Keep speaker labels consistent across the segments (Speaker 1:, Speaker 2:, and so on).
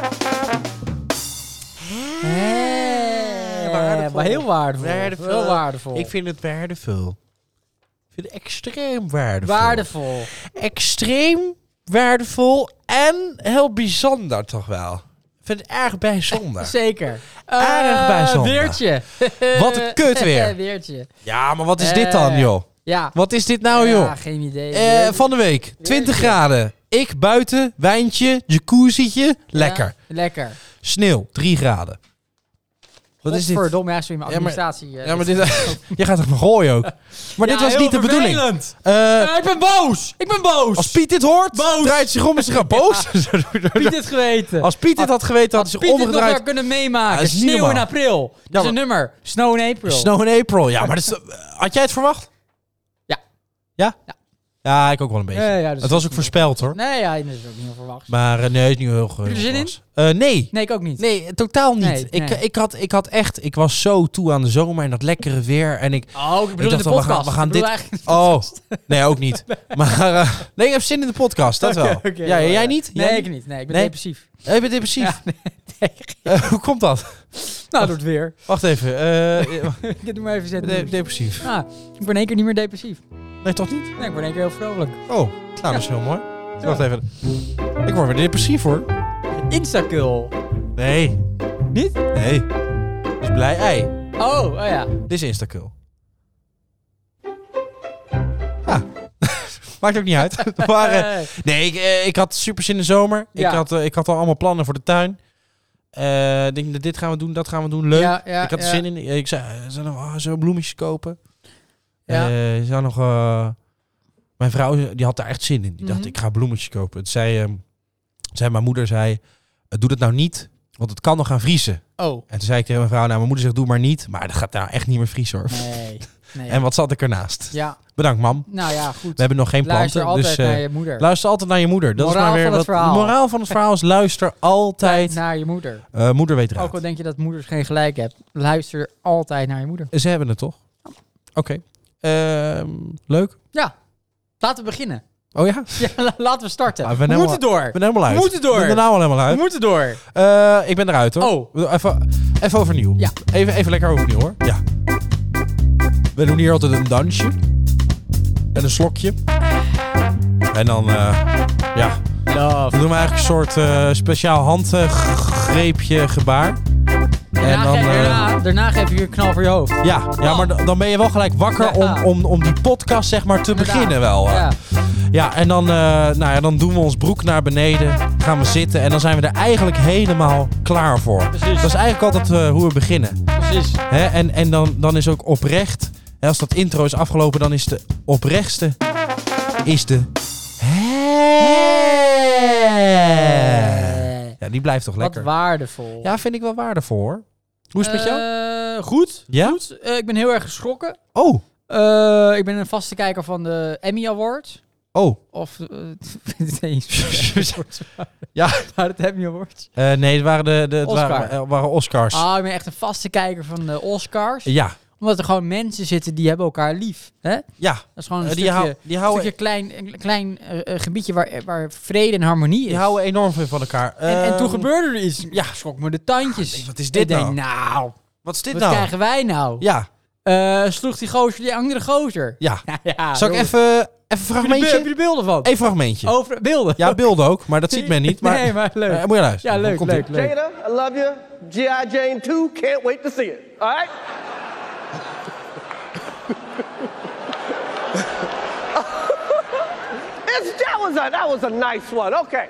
Speaker 1: waardevol.
Speaker 2: Eh, Waardevol.
Speaker 1: Heel waardevol.
Speaker 2: Ik vind het waardevol. Ik vind het extreem waardevol.
Speaker 1: waardevol.
Speaker 2: Extreem waardevol en heel bijzonder toch wel. Ik vind het erg bijzonder.
Speaker 1: Zeker.
Speaker 2: Aardig
Speaker 1: Eh,
Speaker 2: bijzonder.
Speaker 1: Weertje.
Speaker 2: Wat een kut weer.
Speaker 1: weertje.
Speaker 2: Ja, maar wat is dit dan,
Speaker 1: Eh,
Speaker 2: joh?
Speaker 1: Ja.
Speaker 2: Wat is dit nou,
Speaker 1: ja,
Speaker 2: joh?
Speaker 1: geen idee.
Speaker 2: Eh,
Speaker 1: Weer-
Speaker 2: van de week, 20
Speaker 1: Weertje.
Speaker 2: graden. Ik buiten, wijntje, jacuzzietje, lekker.
Speaker 1: Ja, lekker.
Speaker 2: Sneeuw, 3 graden. Wat is dit?
Speaker 1: Verdomme, ja, sorry, mijn
Speaker 2: Ja, maar-
Speaker 1: administratie. eh,
Speaker 2: Ja, maar dit... Je gaat toch maar gooien ook. Maar dit
Speaker 1: Ja,
Speaker 2: was
Speaker 1: heel
Speaker 2: niet de bedoeling. Eh,
Speaker 1: Eh, ik ben boos! Ik ben boos!
Speaker 2: als Piet dit hoort,
Speaker 1: Boos.
Speaker 2: draait zich om en ze gaat boos.
Speaker 1: Piet dit geweten.
Speaker 2: als Piet dit had geweten, had hij zich
Speaker 1: Piet dit nog wel
Speaker 2: omgedraaid.
Speaker 1: kunnen
Speaker 2: Ja,
Speaker 1: meemaken.
Speaker 2: dat is niet
Speaker 1: Sneeuw in
Speaker 2: normaal.
Speaker 1: april. Dat
Speaker 2: Ja,
Speaker 1: is een nummer. Snow in April.
Speaker 2: Snow in April. Ja, maar dat is- had jij het verwacht?
Speaker 1: Ja.
Speaker 2: Ja?
Speaker 1: Ja.
Speaker 2: Ja, ik ook wel een beetje.
Speaker 1: Nee, ja, dus
Speaker 2: het was ook voorspeld hoor.
Speaker 1: Nee, ja, dat is ook niet onverwacht.
Speaker 2: Maar eh, nee, is niet heel
Speaker 1: Heb je er zin in?
Speaker 2: Eh, nee.
Speaker 1: Nee, ik ook niet.
Speaker 2: Nee, totaal niet.
Speaker 1: Nee,
Speaker 2: ik,
Speaker 1: nee.
Speaker 2: Ik, had, ik had echt, ik was zo toe aan de zomer en dat lekkere weer. En ik,
Speaker 1: Oh, ik bedoel
Speaker 2: dacht
Speaker 1: in
Speaker 2: al,
Speaker 1: de
Speaker 2: we gaan-
Speaker 1: podcast.
Speaker 2: we gaan
Speaker 1: Ik bedoel
Speaker 2: dit-
Speaker 1: eigenlijk-
Speaker 2: oh, nee, ook niet. Maar eh, nee, ik heb zin in de podcast, dat wel.
Speaker 1: Oké, oké,
Speaker 2: ja,
Speaker 1: ja,
Speaker 2: jij
Speaker 1: ja.
Speaker 2: niet?
Speaker 1: Nee,
Speaker 2: Jij
Speaker 1: ik niet. Nee, ik ben
Speaker 2: Nee?
Speaker 1: depressief.
Speaker 2: Eh, je bent depressief.
Speaker 1: Ja, nee,
Speaker 2: Eh, hoe komt dat?
Speaker 1: nou, doet weer.
Speaker 2: Wacht even. eh,
Speaker 1: Ik doe maar even zetten.
Speaker 2: de- depressief.
Speaker 1: Ah, ik ben in één keer niet meer depressief.
Speaker 2: Nee, toch niet?
Speaker 1: Nee, ik word in één keer heel vrolijk.
Speaker 2: Oh, nou, dat is heel mooi. Wacht even. Ik word weer depressief hoor.
Speaker 1: Instacul.
Speaker 2: Nee.
Speaker 1: Niet?
Speaker 2: Nee. Dat is blij ei.
Speaker 1: Oh, oh ja.
Speaker 2: Dit is Instacul. Ah. Maakt ook niet uit. maar, eh,
Speaker 1: Eh,
Speaker 2: nee, ik, eh, ik had super zin in de zomer.
Speaker 1: Ja.
Speaker 2: Ik, had, eh, ik had al allemaal plannen voor de tuin. Eh, ik denk, dit gaan we doen, dat gaan we doen. Leuk.
Speaker 1: ja, ja,
Speaker 2: ik had er
Speaker 1: ja.
Speaker 2: zin in. Ik zei, eh, zou nog ah, zullen we bloemetjes kopen?
Speaker 1: Ja.
Speaker 2: Ja. zou nog... eh, mijn vrouw die had daar echt zin in. Die dacht,
Speaker 1: Mhm.
Speaker 2: ik ga bloemetjes kopen. Het zei, ehm, zei mijn moeder, zei, eh, doe dat nou niet, want het kan nog gaan vriezen.
Speaker 1: Oh.
Speaker 2: En toen zei ik tegen mijn vrouw, nou, mijn moeder zegt, doe maar niet. Maar dat gaat nou echt niet meer vriezen, hoor.
Speaker 1: Nee. nee.
Speaker 2: En wat zat ik ernaast?
Speaker 1: Ja,
Speaker 2: Bedankt, mam.
Speaker 1: nou ja, goed.
Speaker 2: We hebben nog geen
Speaker 1: Luister
Speaker 2: planten,
Speaker 1: altijd
Speaker 2: dus... eh,
Speaker 1: naar je moeder.
Speaker 2: Luister altijd naar je moeder. Dat
Speaker 1: Moraal
Speaker 2: is maar weer
Speaker 1: van het
Speaker 2: wat-
Speaker 1: verhaal.
Speaker 2: De moraal van het verhaal is luister altijd.
Speaker 1: Naar je moeder.
Speaker 2: Eh, moeder weet
Speaker 1: Ook al
Speaker 2: raad.
Speaker 1: denk je dat moeders geen gelijk hebben. Luister altijd naar je moeder.
Speaker 2: Ze hebben het toch? Oké. Ehm, leuk.
Speaker 1: Ja. Laten we beginnen.
Speaker 2: Oh ja?
Speaker 1: Ja, la- laten we starten.
Speaker 2: Ah, we
Speaker 1: we
Speaker 2: nemen-
Speaker 1: moeten door.
Speaker 2: Ik ben helemaal uit.
Speaker 1: We moeten door.
Speaker 2: Ik ben er nou al helemaal
Speaker 1: We
Speaker 2: uit.
Speaker 1: moeten door.
Speaker 2: Eh, ik ben eruit hoor.
Speaker 1: Oh.
Speaker 2: Even, even overnieuw.
Speaker 1: Ja.
Speaker 2: Even, even lekker overnieuw hoor. Ja. We doen hier altijd een dansje. En een slokje. En dan, eh, ja. We
Speaker 1: Love.
Speaker 2: doen we eigenlijk een soort eh, speciaal handgreepje gebaar.
Speaker 1: Daarna,
Speaker 2: dan,
Speaker 1: geef,
Speaker 2: eh,
Speaker 1: daarna, daarna geef je een knal voor je hoofd.
Speaker 2: Ja, ja maar d- dan ben je wel gelijk wakker
Speaker 1: Ja.
Speaker 2: om, om, om die podcast zeg maar te
Speaker 1: Inderdaad.
Speaker 2: beginnen wel. eh.
Speaker 1: Ja.
Speaker 2: Ja, en dan, eh, nou ja, dan doen we ons broek naar beneden, gaan we zitten en dan zijn we er eigenlijk helemaal klaar voor.
Speaker 1: Precies.
Speaker 2: Dat is eigenlijk altijd eh, hoe we beginnen.
Speaker 1: Precies.
Speaker 2: Hè? En, en dan, dan is ook oprecht, hè, als dat intro is afgelopen, dan is de oprechtste, is de... Hey.
Speaker 1: Eh,
Speaker 2: Ja, die blijft toch
Speaker 1: wat
Speaker 2: lekker.
Speaker 1: waardevol.
Speaker 2: Ja, vind ik wel waardevol hoor. Hoe is het met jou?
Speaker 1: Eh, goed.
Speaker 2: Ja?
Speaker 1: goed. Eh, ik ben heel erg geschrokken.
Speaker 2: Oh,
Speaker 1: Eh, ik ben een vaste kijker van de Emmy Awards.
Speaker 2: oh.
Speaker 1: Of, eh, ik weet het eens.
Speaker 2: Ja.
Speaker 1: Maar het Emmy Awards.
Speaker 2: Eh, nee, het waren, de, de, het
Speaker 1: Oscar.
Speaker 2: waren, eh, waren Oscars.
Speaker 1: Ah, ik ben echt een vaste kijker van de Oscars.
Speaker 2: Ja,
Speaker 1: Omdat er gewoon mensen zitten die hebben elkaar lief. Hè?
Speaker 2: ja.
Speaker 1: Dat is gewoon een
Speaker 2: Eh, die,
Speaker 1: stukje...
Speaker 2: hou, die,
Speaker 1: Een
Speaker 2: houden,
Speaker 1: stukje klein, een klein eh, eh, gebiedje waar, waar vrede en harmonie is.
Speaker 2: die houden enorm veel van elkaar.
Speaker 1: en, en toen
Speaker 2: Ehm,
Speaker 1: gebeurde er iets. Ja, schrok me de tandjes.
Speaker 2: Wat is dit
Speaker 1: ik denk,
Speaker 2: nou?
Speaker 1: nou,
Speaker 2: Wat is dit
Speaker 1: wat
Speaker 2: nou?
Speaker 1: krijgen wij nou?
Speaker 2: Ja,
Speaker 1: Eh, sloeg die gozer die andere gozer.
Speaker 2: ja.
Speaker 1: Ja, ja,
Speaker 2: Zal ik
Speaker 1: joh.
Speaker 2: even even een
Speaker 1: Heb je de be- Heb
Speaker 2: fragmentje?
Speaker 1: je de beelden van?
Speaker 2: Eén fragmentje.
Speaker 1: Over beelden.
Speaker 2: Ja, beelden ook, maar dat ziet men niet. Maar,
Speaker 1: nee, maar leuk.
Speaker 2: Eh, moet je luisteren.
Speaker 1: ja, leuk,
Speaker 2: Komt-ie.
Speaker 1: leuk, leuk.
Speaker 3: Jada, I love you. G.I. Jane 2, can't wait to see it. All right? It's- that, was a, that was a nice one. Okay.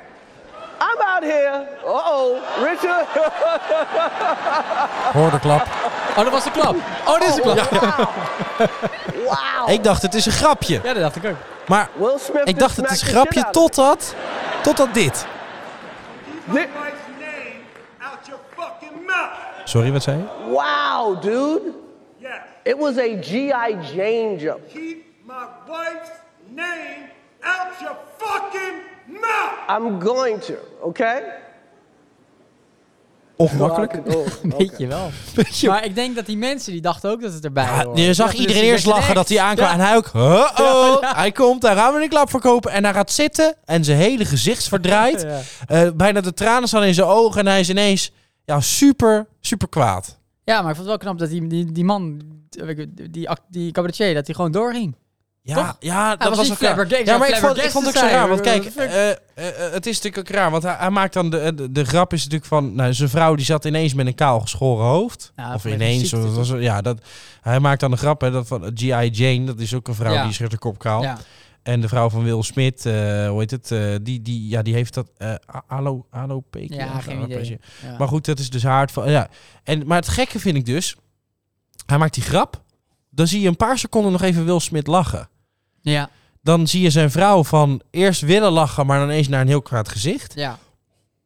Speaker 3: I'm out here. Uh oh. Richard.
Speaker 2: Hoor de klap.
Speaker 1: Oh, dat was de klap. Oh, dit is de klap. Ja,
Speaker 3: Wow.
Speaker 2: Ik dacht, het is een grapje.
Speaker 1: dat dacht ik ook.
Speaker 2: Maar
Speaker 3: Will Smith dus
Speaker 2: ik dacht, het is een grapje
Speaker 3: tot.
Speaker 2: totdat... Totdat dit.
Speaker 3: Thi-
Speaker 4: Christ's name out your fucking mouth.
Speaker 2: Sorry, wat zei je?
Speaker 3: Wow, dude.
Speaker 4: Yes.
Speaker 3: It was a G.I. Jane jump.
Speaker 4: Keep my wife's name out your fucking mouth.
Speaker 3: I'm going to, okay?
Speaker 2: Ongemakkelijk.
Speaker 3: Oh, okay.
Speaker 1: Weet je wel. Maar ik denk dat die mensen, die dachten ook dat het erbij
Speaker 2: Ja,
Speaker 1: hoorde.
Speaker 2: Ah, je
Speaker 1: Die
Speaker 2: zag
Speaker 1: dachten
Speaker 2: iedereen
Speaker 1: dus,
Speaker 2: eerst
Speaker 1: die
Speaker 2: lachen dat
Speaker 1: dachten
Speaker 2: hij aankwam. En hij ook, oh, hij komt, daar gaan we een klap voor kopen. En hij gaat zitten en zijn hele gezicht verdrijdt.
Speaker 1: Ja.
Speaker 2: Eh, bijna de tranen staan in zijn ogen. En hij is ineens ja, super, super kwaad.
Speaker 1: echt. Ja, maar ik vond het wel knap dat die, die, die man, die, die, act- die cabaretier, dat hij gewoon doorging.
Speaker 2: Ja,
Speaker 1: Toch?
Speaker 2: ja dat
Speaker 1: was
Speaker 2: was,
Speaker 1: niet
Speaker 2: ook raar.
Speaker 1: flabbergasted,
Speaker 2: Ja, maar ik vond, ik
Speaker 1: flabbergasted
Speaker 2: vond het ook zo
Speaker 1: zijn.
Speaker 2: raar. Want kijk,
Speaker 1: What the fuck?
Speaker 2: eh, eh, eh, het is natuurlijk ook raar. Want hij, hij maakt dan... De, de, de grap is natuurlijk van... Nou, zijn vrouw die zat ineens met een kaal geschoren hoofd.
Speaker 1: Ja,
Speaker 2: of
Speaker 1: vanwege
Speaker 2: ineens.
Speaker 1: ziekte,
Speaker 2: of- was- ja, dat, hij maakt dan de grap hè, dat van eh, G.I. Jane. Dat is ook een vrouw
Speaker 1: Ja.
Speaker 2: die schrift de kop kaal.
Speaker 1: Ja.
Speaker 2: En de vrouw van Will Smith, eh, hoe heet het? eh, die, die, ja, die heeft dat eh a- alo, alopecia.
Speaker 1: Ja, geen
Speaker 2: Alopecia.
Speaker 1: idee. Ja.
Speaker 2: Maar goed, dat is dus haar... het van- Ja. En, maar het gekke vind ik dus... Hij maakt die grap. Dan zie je een paar seconden nog even Will Smith lachen
Speaker 1: ja,
Speaker 2: dan zie je zijn vrouw van eerst willen lachen, maar dan ineens naar een heel kwaad gezicht.
Speaker 1: ja.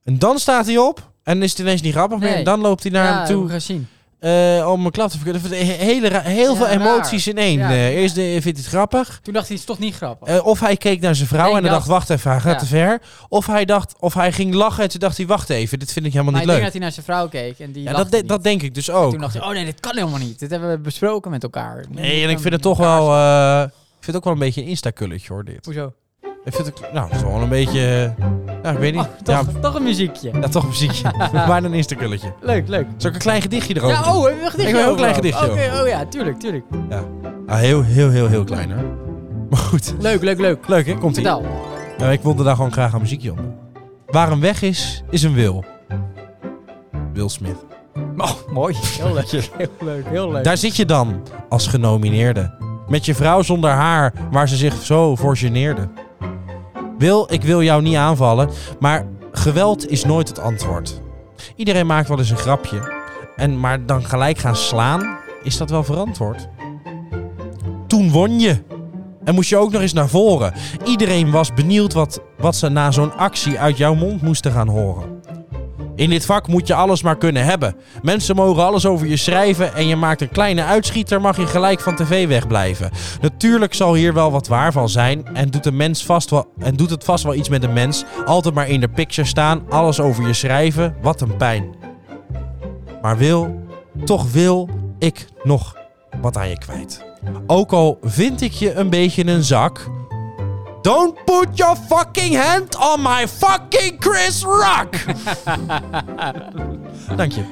Speaker 2: En dan staat hij op en is het ineens niet grappig meer.
Speaker 1: Nee.
Speaker 2: En dan loopt hij naar
Speaker 1: ja,
Speaker 2: hem
Speaker 1: heb ik
Speaker 2: toe
Speaker 1: gezien.
Speaker 2: eh, om een klap te verkopen. Dat vindt hij Hele ra- heel
Speaker 1: Ja,
Speaker 2: veel
Speaker 1: raar.
Speaker 2: emoties in één.
Speaker 1: Ja.
Speaker 2: Eh, eerst de, vindt hij het grappig.
Speaker 1: Toen dacht hij, het is toch niet grappig.
Speaker 2: eh, of hij keek naar zijn vrouw
Speaker 1: Nee,
Speaker 2: en dan
Speaker 1: dat-
Speaker 2: dacht, wacht even, hij gaat
Speaker 1: Ja.
Speaker 2: te ver. Of hij, dacht, of hij ging lachen en toen dacht hij, wacht even, dit vind ik helemaal
Speaker 1: maar ik
Speaker 2: niet
Speaker 1: denk
Speaker 2: leuk.
Speaker 1: dat hij naar zijn vrouw keek en die
Speaker 2: Ja,
Speaker 1: lachte
Speaker 2: dat, de-
Speaker 1: niet.
Speaker 2: dat denk ik dus ook.
Speaker 1: Toen dacht hij, oh nee, dit kan helemaal niet. Dit hebben we besproken met elkaar.
Speaker 2: nee, en ik vind het toch wel, eh, ik vind het ook wel een beetje een instakulletje hoor, dit.
Speaker 1: Hoezo?
Speaker 2: Ik vind het, nou, het is wel een beetje, eh, ja, ik weet niet.
Speaker 1: Oh, toch,
Speaker 2: Ja,
Speaker 1: toch een muziekje.
Speaker 2: Ja, toch muziekje. maar een Instakulletje.
Speaker 1: Leuk, leuk.
Speaker 2: Zal ik een klein gedichtje erover
Speaker 1: Ja, oh, hebben we een gedichtje
Speaker 2: Ik wil ook een klein
Speaker 1: over?
Speaker 2: gedichtje
Speaker 1: Oké, oh ja, tuurlijk, tuurlijk.
Speaker 2: doen? Ja. Ah, heel, heel, heel, heel klein, hè? Maar goed.
Speaker 1: Leuk, leuk, leuk.
Speaker 2: Leuk, hè? Komt-ie.
Speaker 1: Vertel.
Speaker 2: Nou, ik wilde daar gewoon graag een muziekje om. doen. Waar een weg is, is een wil. Will Smith.
Speaker 1: Oh, mooi. Heel leuk, heel leuk, heel leuk.
Speaker 2: Daar zit je dan, als genomineerde. Met je vrouw zonder haar, waar ze zich zo voor geneerde. Wil, ik wil jou niet aanvallen, maar geweld is nooit het antwoord. Iedereen maakt wel eens een grapje. En maar dan gelijk gaan slaan, is dat wel verantwoord? Toen won je. En moest je ook nog eens naar voren. Iedereen was benieuwd wat, wat ze na zo'n actie uit jouw mond moesten gaan horen. In dit vak moet je alles maar kunnen hebben. Mensen mogen alles over je schrijven en je maakt een kleine uitschieter, mag je gelijk van tv wegblijven. Natuurlijk zal hier wel wat waar van zijn en doet, de mens vast wel, en doet het vast wel iets met de mens. Altijd maar in de picture staan, alles over je schrijven, wat een pijn. Maar wil, toch wil ik nog wat aan je kwijt. Ook al vind ik je een beetje een zak. Don't put your fucking hand on my fucking Chris Rock! Dank je.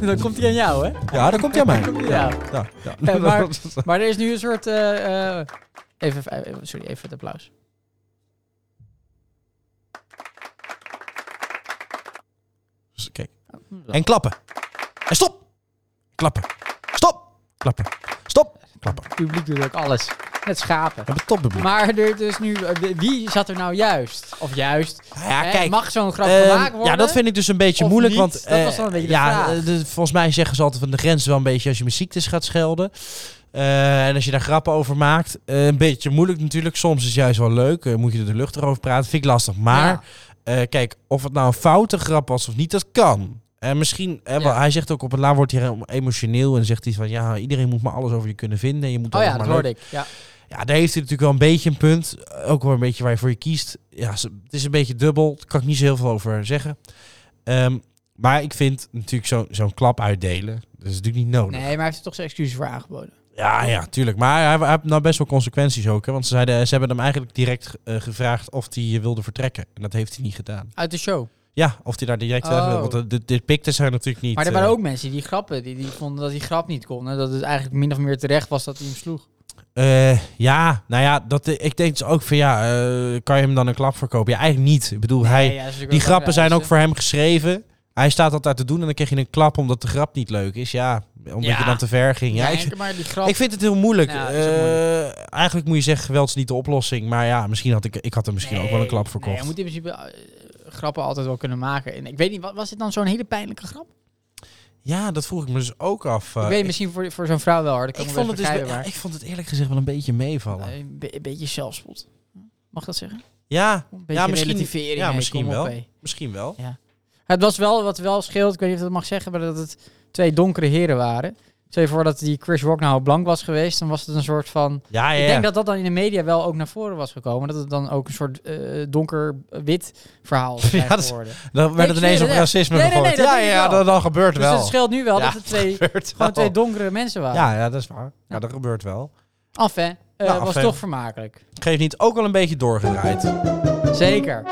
Speaker 1: Dan komt hij aan jou, hè?
Speaker 2: Ja, dan komt hij aan mij.
Speaker 1: Ja.
Speaker 2: Ja, ja.
Speaker 1: Eh, maar, maar er is nu een soort... eh, eh, even, eh, sorry, even het applaus.
Speaker 2: Dus kijk. En klappen. En stop. Klappen. Stop. Klappen. Stop. Klappen.
Speaker 1: Het publiek doet ook alles. Net schapen.
Speaker 2: We hebben toppubliek.
Speaker 1: Maar er is nu, eh, wie zat er nou juist? Of juist?
Speaker 2: Nou Ja,
Speaker 1: Hè,
Speaker 2: kijk,
Speaker 1: Mag zo'n grap
Speaker 2: Ehm,
Speaker 1: gemaakt worden?
Speaker 2: ja, dat vind ik dus een beetje
Speaker 1: Of
Speaker 2: moeilijk.
Speaker 1: niet?
Speaker 2: Want
Speaker 1: Dat
Speaker 2: eh,
Speaker 1: was wel een beetje de
Speaker 2: ja,
Speaker 1: vraag.
Speaker 2: eh, de- volgens mij zeggen ze altijd van de grens wel een beetje als je met ziektes gaat schelden. Eh, en als je daar grappen over maakt. eh, een beetje moeilijk natuurlijk. Soms is het juist wel leuk. eh, moet je er de lucht erover praten. Vind ik lastig. Maar
Speaker 1: Ja.
Speaker 2: eh, kijk, of het nou een foute grap was of niet, dat kan. En misschien, eh, wel,
Speaker 1: Ja.
Speaker 2: hij zegt ook op het laatst wordt hij helemaal emotioneel en zegt hij van ja, iedereen moet maar alles over je kunnen vinden. En je moet
Speaker 1: Oh
Speaker 2: alles
Speaker 1: ja,
Speaker 2: maar
Speaker 1: dat
Speaker 2: leuk
Speaker 1: hoorde ik. Ja.
Speaker 2: ja, daar heeft hij natuurlijk wel een beetje een punt. Ook wel een beetje waar je voor je kiest. Ja, ze- het is een beetje dubbel. Daar kan ik niet zo heel veel over zeggen. Ehm, maar ik vind natuurlijk zo- zo'n klap uitdelen. Dat is natuurlijk niet nodig.
Speaker 1: Nee, maar hij heeft er toch zijn excuses voor aangeboden.
Speaker 2: Ja, ja, tuurlijk. Maar hij, hij heeft nou best wel consequenties ook. Hè? Want ze, zeiden, eh, ze hebben hem eigenlijk direct eh, gevraagd of hij eh, wilde vertrekken. En dat heeft hij niet gedaan.
Speaker 1: Uit de show.
Speaker 2: Ja, of hij daar direct...
Speaker 1: Oh.
Speaker 2: eh, want de, de, de picten zijn natuurlijk niet...
Speaker 1: Maar er waren
Speaker 2: eh,
Speaker 1: ook mensen die grappen, die, die vonden dat die grap niet kon. En dat het eigenlijk min of meer terecht was dat hij hem sloeg.
Speaker 2: Eh, ja, nou ja, dat, ik denk dus ook van ja, eh, kan je hem dan een klap verkopen? Ja, eigenlijk niet. Ik bedoel, hij,
Speaker 1: ja, dus, eh, dat is natuurlijk
Speaker 2: Die
Speaker 1: wel
Speaker 2: grappen zijn ook
Speaker 1: belangrijk,
Speaker 2: voor hem geschreven. Hij staat dat daar te doen en dan kreeg je een klap omdat de grap niet leuk is. Ja, omdat
Speaker 1: Ja.
Speaker 2: je dan te ver ging. Ja,
Speaker 1: hè?
Speaker 2: ik,
Speaker 1: Nee, maar die grap...
Speaker 2: ik vind het heel moeilijk.
Speaker 1: Ja, dat is ook
Speaker 2: Eh,
Speaker 1: moeilijk.
Speaker 2: eigenlijk moet je zeggen, geweld is niet de oplossing. Maar ja, misschien had ik, ik had er misschien ook wel een klap verkocht.
Speaker 1: Nee, je moet in principe eh, grappen altijd wel kunnen maken. En ik weet niet, wa- was dit dan zo'n hele pijnlijke grap?
Speaker 2: Ja, dat vroeg ik me dus ook af. Eh,
Speaker 1: ik weet het misschien voor, voor zo'n vrouw wel hoor. Dat kan
Speaker 2: ik
Speaker 1: me
Speaker 2: vond het
Speaker 1: best
Speaker 2: dus,
Speaker 1: begrijpen,
Speaker 2: ja,
Speaker 1: maar-
Speaker 2: ik vond het eerlijk gezegd wel een beetje meevallen.
Speaker 1: Eh, Een, be- een beetje zelfspot. Mag dat zeggen?
Speaker 2: ja,
Speaker 1: Een beetje
Speaker 2: ja, misschien,
Speaker 1: relativering.
Speaker 2: ja,
Speaker 1: hey,
Speaker 2: misschien
Speaker 1: kom op,
Speaker 2: wel.
Speaker 1: hey.
Speaker 2: Misschien wel.
Speaker 1: Het was wel wat wel scheelt, ik weet niet of ik dat mag zeggen, maar dat het twee donkere heren waren. Stel je voor dat die Chris Rock nou blank was geweest, dan was het een soort van...
Speaker 2: Ja, ja,
Speaker 1: Ik
Speaker 2: ja.
Speaker 1: denk dat dat dan in de media wel ook naar voren was gekomen. Dat het dan ook een soort eh, donker-wit verhaal is
Speaker 2: Ja, dat is-
Speaker 1: geworden.
Speaker 2: Dan
Speaker 1: Nee,
Speaker 2: werd
Speaker 1: ik
Speaker 2: het ineens
Speaker 1: zweer
Speaker 2: op
Speaker 1: het echt.
Speaker 2: racisme
Speaker 1: Nee, nee, nee,
Speaker 2: gegooid.
Speaker 1: dat
Speaker 2: Ja,
Speaker 1: denk ik
Speaker 2: ja,
Speaker 1: wel.
Speaker 2: dat, dat gebeurt
Speaker 1: Dus
Speaker 2: wel.
Speaker 1: het scheelt nu wel
Speaker 2: Ja,
Speaker 1: dat het twee,
Speaker 2: Gebeurt
Speaker 1: gewoon twee
Speaker 2: wel.
Speaker 1: donkere mensen waren.
Speaker 2: ja, ja, dat is waar. Ja, dat gebeurt wel.
Speaker 1: Af hè? Eh,
Speaker 2: Ja, af,
Speaker 1: was
Speaker 2: hè.
Speaker 1: toch vermakelijk.
Speaker 2: Geef niet, ook al een beetje doorgedraaid.
Speaker 1: Zeker.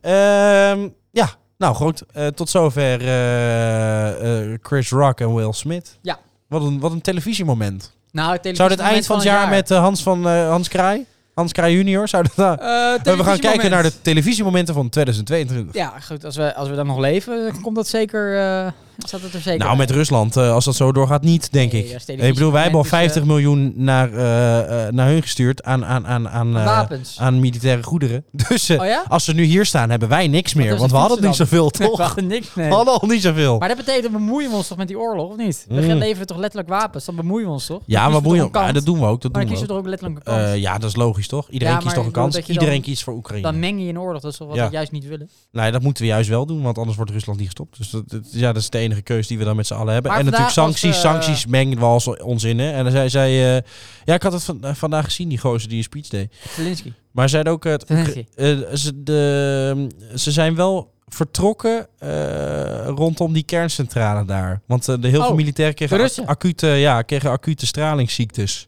Speaker 2: Ehm, ja, Nou goed, eh, tot zover eh, eh, Chris Rock en Will Smith.
Speaker 1: Ja.
Speaker 2: Wat een, wat een televisiemoment.
Speaker 1: Nou, het
Speaker 2: Zou dit eind van het jaar, met eh, Hans, van, eh, Hans Kraai? Hans Kraai junior? Zou dat, nou-
Speaker 1: Eh,
Speaker 2: we gaan kijken naar de televisiemomenten van 2022.
Speaker 1: Ja, goed. Als we, als we dan nog leven, dan komt dat zeker... eh, staat het er zeker
Speaker 2: Nou,
Speaker 1: bij.
Speaker 2: met Rusland, eh, als dat zo doorgaat, niet, denk
Speaker 1: Nee,
Speaker 2: ik.
Speaker 1: dat is
Speaker 2: ik bedoel, wij hebben al
Speaker 1: televisiemoment, dus,
Speaker 2: 50 miljoen naar, eh, eh, naar hun gestuurd aan, aan, aan, aan, eh,
Speaker 1: Wapens.
Speaker 2: aan militaire goederen. Dus eh,
Speaker 1: Oh ja?
Speaker 2: als ze nu hier staan, hebben wij niks meer.
Speaker 1: is
Speaker 2: Want we
Speaker 1: het
Speaker 2: hadden niet
Speaker 1: Amsterdam?
Speaker 2: zoveel,
Speaker 1: We
Speaker 2: toch?
Speaker 1: hadden niks, nee.
Speaker 2: We hadden al niet zoveel.
Speaker 1: Maar dat betekent, bemoeien we ons toch met die oorlog, of niet? We
Speaker 2: Mm.
Speaker 1: leveren toch letterlijk wapens, dan bemoeien we ons toch? Dan
Speaker 2: ja,
Speaker 1: kiezen
Speaker 2: maar
Speaker 1: we toch
Speaker 2: boeien.
Speaker 1: een kant.
Speaker 2: Ja, dat doen we ook. Dat
Speaker 1: Maar
Speaker 2: doen
Speaker 1: dan
Speaker 2: we
Speaker 1: kiezen we
Speaker 2: ook.
Speaker 1: toch ook letterlijk een kant.
Speaker 2: Eh, ja, dat is logisch, toch? Iedereen
Speaker 1: Ja,
Speaker 2: kiest
Speaker 1: maar
Speaker 2: toch een
Speaker 1: ik bedoel
Speaker 2: kans.
Speaker 1: dat je
Speaker 2: Iedereen
Speaker 1: dan-
Speaker 2: kiest voor Oekraïne.
Speaker 1: dan meng je in oorlog, dat is toch wat
Speaker 2: Ja.
Speaker 1: we juist niet willen.
Speaker 2: Nee, dat moeten we juist wel doen, want anders wordt Rusland niet gestopt. Dus dat, dat- ja, dat is de enige keus die we dan met z'n allen hebben.
Speaker 1: Maar
Speaker 2: en natuurlijk
Speaker 1: vandaag
Speaker 2: sancties.
Speaker 1: was, eh,
Speaker 2: Sancties mengen we als ons in. Hè? En dan zei zij... ja, ik had het van- eh, vandaag gezien, die gozer die een speech deed.
Speaker 1: Zelensky.
Speaker 2: Maar zij zei ook... eh, het-
Speaker 1: Zelensky.
Speaker 2: eh, ze, de, ze zijn wel vertrokken eh, rondom die kerncentrale daar. Want eh, de heel veel
Speaker 1: Oh,
Speaker 2: militairen kregen,
Speaker 1: de
Speaker 2: ac-
Speaker 1: Russen. Mm.
Speaker 2: acute, ja, kregen acute stralingsziektes.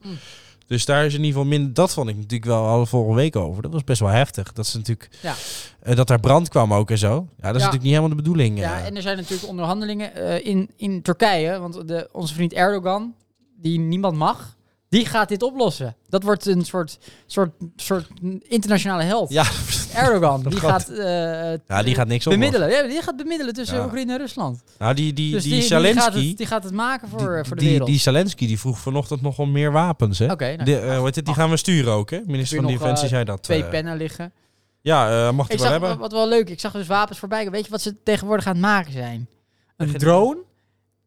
Speaker 2: Dus daar is in ieder geval minder... Dat vond ik natuurlijk wel al vorige week over. Dat was best wel heftig. Dat is natuurlijk...
Speaker 1: Ja.
Speaker 2: Eh, dat daar brand kwam ook en zo. Ja, dat is natuurlijk niet helemaal de bedoeling. eh.
Speaker 1: Ja, en er zijn natuurlijk onderhandelingen eh, in, in Turkije. Want de, onze vriend Erdogan, die niemand mag, die gaat dit oplossen. Dat wordt een soort, soort, soort internationale held.
Speaker 2: ja.
Speaker 1: Erdogan, die
Speaker 2: Dat gaat-
Speaker 1: gaat, eh,
Speaker 2: Ja, die gaat niks
Speaker 1: bemiddelen. Ja, die gaat bemiddelen tussen
Speaker 2: Ja.
Speaker 1: Oekraïne en Rusland.
Speaker 2: Nou, die, die,
Speaker 1: Dus
Speaker 2: die,
Speaker 1: die, die, gaat,
Speaker 2: Zelensky...
Speaker 1: het, die gaat het maken voor, eh, voor de
Speaker 2: die,
Speaker 1: wereld.
Speaker 2: die Zelensky die vroeg vanochtend nog om meer wapens. Hè?
Speaker 1: Oké, nou,
Speaker 2: De, eh, hoe heet het, die gaan we sturen ook. Hè? Minister
Speaker 1: Heb
Speaker 2: van
Speaker 1: je nog,
Speaker 2: Defensie
Speaker 1: eh,
Speaker 2: zei dat.
Speaker 1: Twee
Speaker 2: eh.
Speaker 1: pennen liggen.
Speaker 2: Ja, eh, mag hij
Speaker 1: Ik
Speaker 2: wel
Speaker 1: zag
Speaker 2: hebben.
Speaker 1: wat, wat wel leuk. Ik zag dus wapens voorbij. komen. Weet je wat ze tegenwoordig aan het maken zijn? Een drone.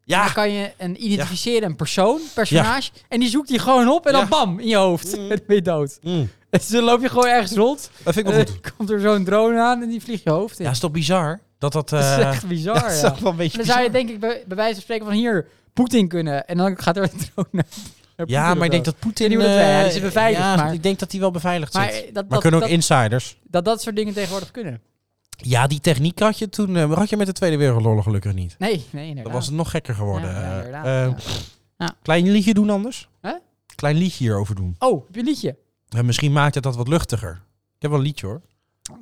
Speaker 2: Ja,
Speaker 1: Dan kan je een identificeren, een persoon, personage. En die zoekt die gewoon op en
Speaker 2: Ja.
Speaker 1: dan bam, in je hoofd. En dan ben je dood.
Speaker 2: Mm.
Speaker 1: Dus dan loop je gewoon ergens rond.
Speaker 2: dat vind ik wel
Speaker 1: En
Speaker 2: goed.
Speaker 1: dan komt er zo'n drone aan en die vliegt je hoofd in.
Speaker 2: Eh, Ja, is toch bizar? Dat dat... eh,
Speaker 1: dat is echt bizar,
Speaker 2: dat is
Speaker 1: ja.
Speaker 2: toch wel een beetje
Speaker 1: En dan zou je
Speaker 2: bizar.
Speaker 1: denk ik bij, bij wijze van spreken van hier, Poetin kunnen. En dan gaat er een drone naar, naar
Speaker 2: Ja,
Speaker 1: Poetin
Speaker 2: maar ik denk
Speaker 1: of zo.
Speaker 2: dat Poetin...
Speaker 1: Die moet het- ja, die
Speaker 2: eh,
Speaker 1: is beveiligd,
Speaker 2: ja,
Speaker 1: maar-
Speaker 2: ik denk dat hij wel beveiligd
Speaker 1: Maar,
Speaker 2: zit.
Speaker 1: eh, dat-
Speaker 2: maar
Speaker 1: dat-
Speaker 2: kunnen ook
Speaker 1: dat-
Speaker 2: insiders.
Speaker 1: Dat dat soort dingen tegenwoordig kunnen.
Speaker 2: Ja, die techniek had je toen... eh, had je met de Tweede Wereldoorlog gelukkig niet.
Speaker 1: Nee, nee, inderdaad.
Speaker 2: Dan was het nog gekker geworden.
Speaker 1: Ja, ja,
Speaker 2: Eh,
Speaker 1: inderdaad,
Speaker 2: eh,
Speaker 1: ja.
Speaker 2: Klein liedje doen anders?
Speaker 1: Hè?
Speaker 2: Klein liedje hierover doen.
Speaker 1: Oh, heb je een liedje?
Speaker 2: En misschien maakt het dat wat luchtiger. Ik heb wel een liedje hoor.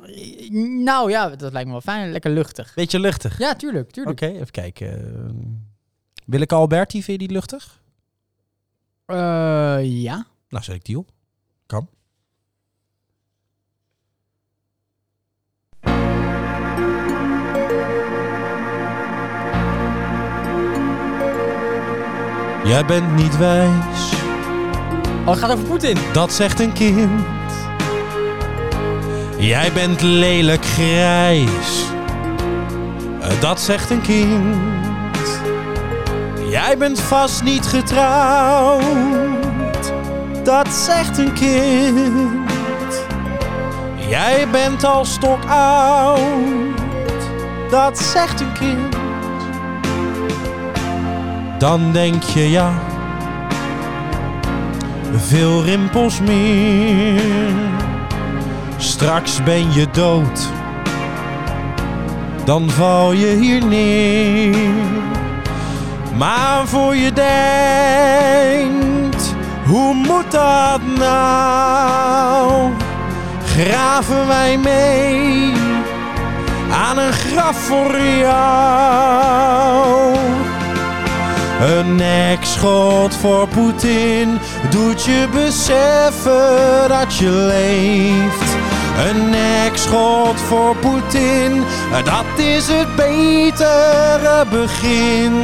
Speaker 1: Eh, Nou ja, dat lijkt me wel fijn. Lekker luchtig.
Speaker 2: Beetje luchtig.
Speaker 1: Ja, tuurlijk,
Speaker 2: Oké,
Speaker 1: tuurlijk.
Speaker 2: even kijken. ehm, Willeke Alberti, vind je die luchtig?
Speaker 1: Eh, ja.
Speaker 2: Nou, zet ik die op. Kan. Jij bent niet wijs.
Speaker 1: Oh, het gaat over Poetin.
Speaker 2: Dat zegt een kind. Jij bent lelijk grijs. Dat zegt een kind. Jij bent vast niet getrouwd. Dat zegt een kind. Jij bent al stokoud. Dat zegt een kind. Dan denk je ja veel rimpels meer. Straks ben je dood, dan val je hier neer. Maar voor je denkt, hoe moet dat nou? Graven wij mee aan een graf voor jou? Een nekschot voor Poetin doet je beseffen dat je leeft. Een nekschot voor Poetin, dat is het betere begin.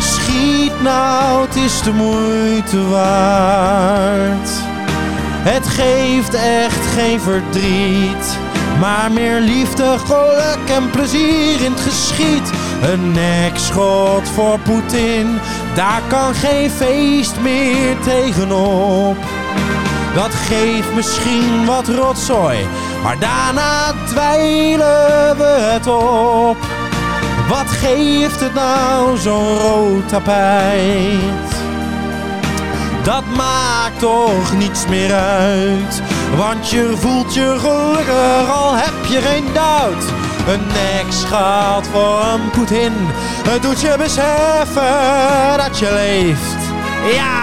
Speaker 2: Schiet nou, het is de moeite waard. Het geeft echt geen verdriet, maar meer liefde, geluk en plezier in het geschiet. Een nekschot voor Poetin, daar kan geen feest meer tegenop. Dat geeft misschien wat rotzooi, maar daarna dweilen we het op. Wat geeft het nou zo'n rood tapijt? dat maakt toch niets meer uit. Want je voelt je gelukkig, al heb je geen duit. Een nekschat voor een Poetin, het doet je beseffen dat je leeft. Ja,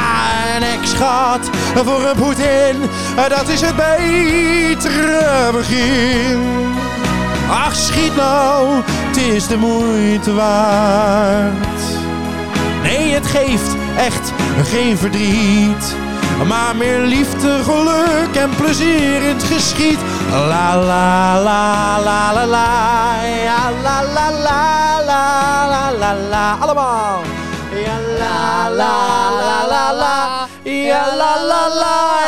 Speaker 2: een ex-schat voor een Poetin, dat is het betere begin. Ach, schiet nou, het is de moeite waard. Nee, het geeft echt geen verdriet. Maar meer liefde, geluk en plezier in het geschiet. La la la la la la. Ja, la la la la la la la. Allemaal. Ja, la la la la la. Ja, la la la.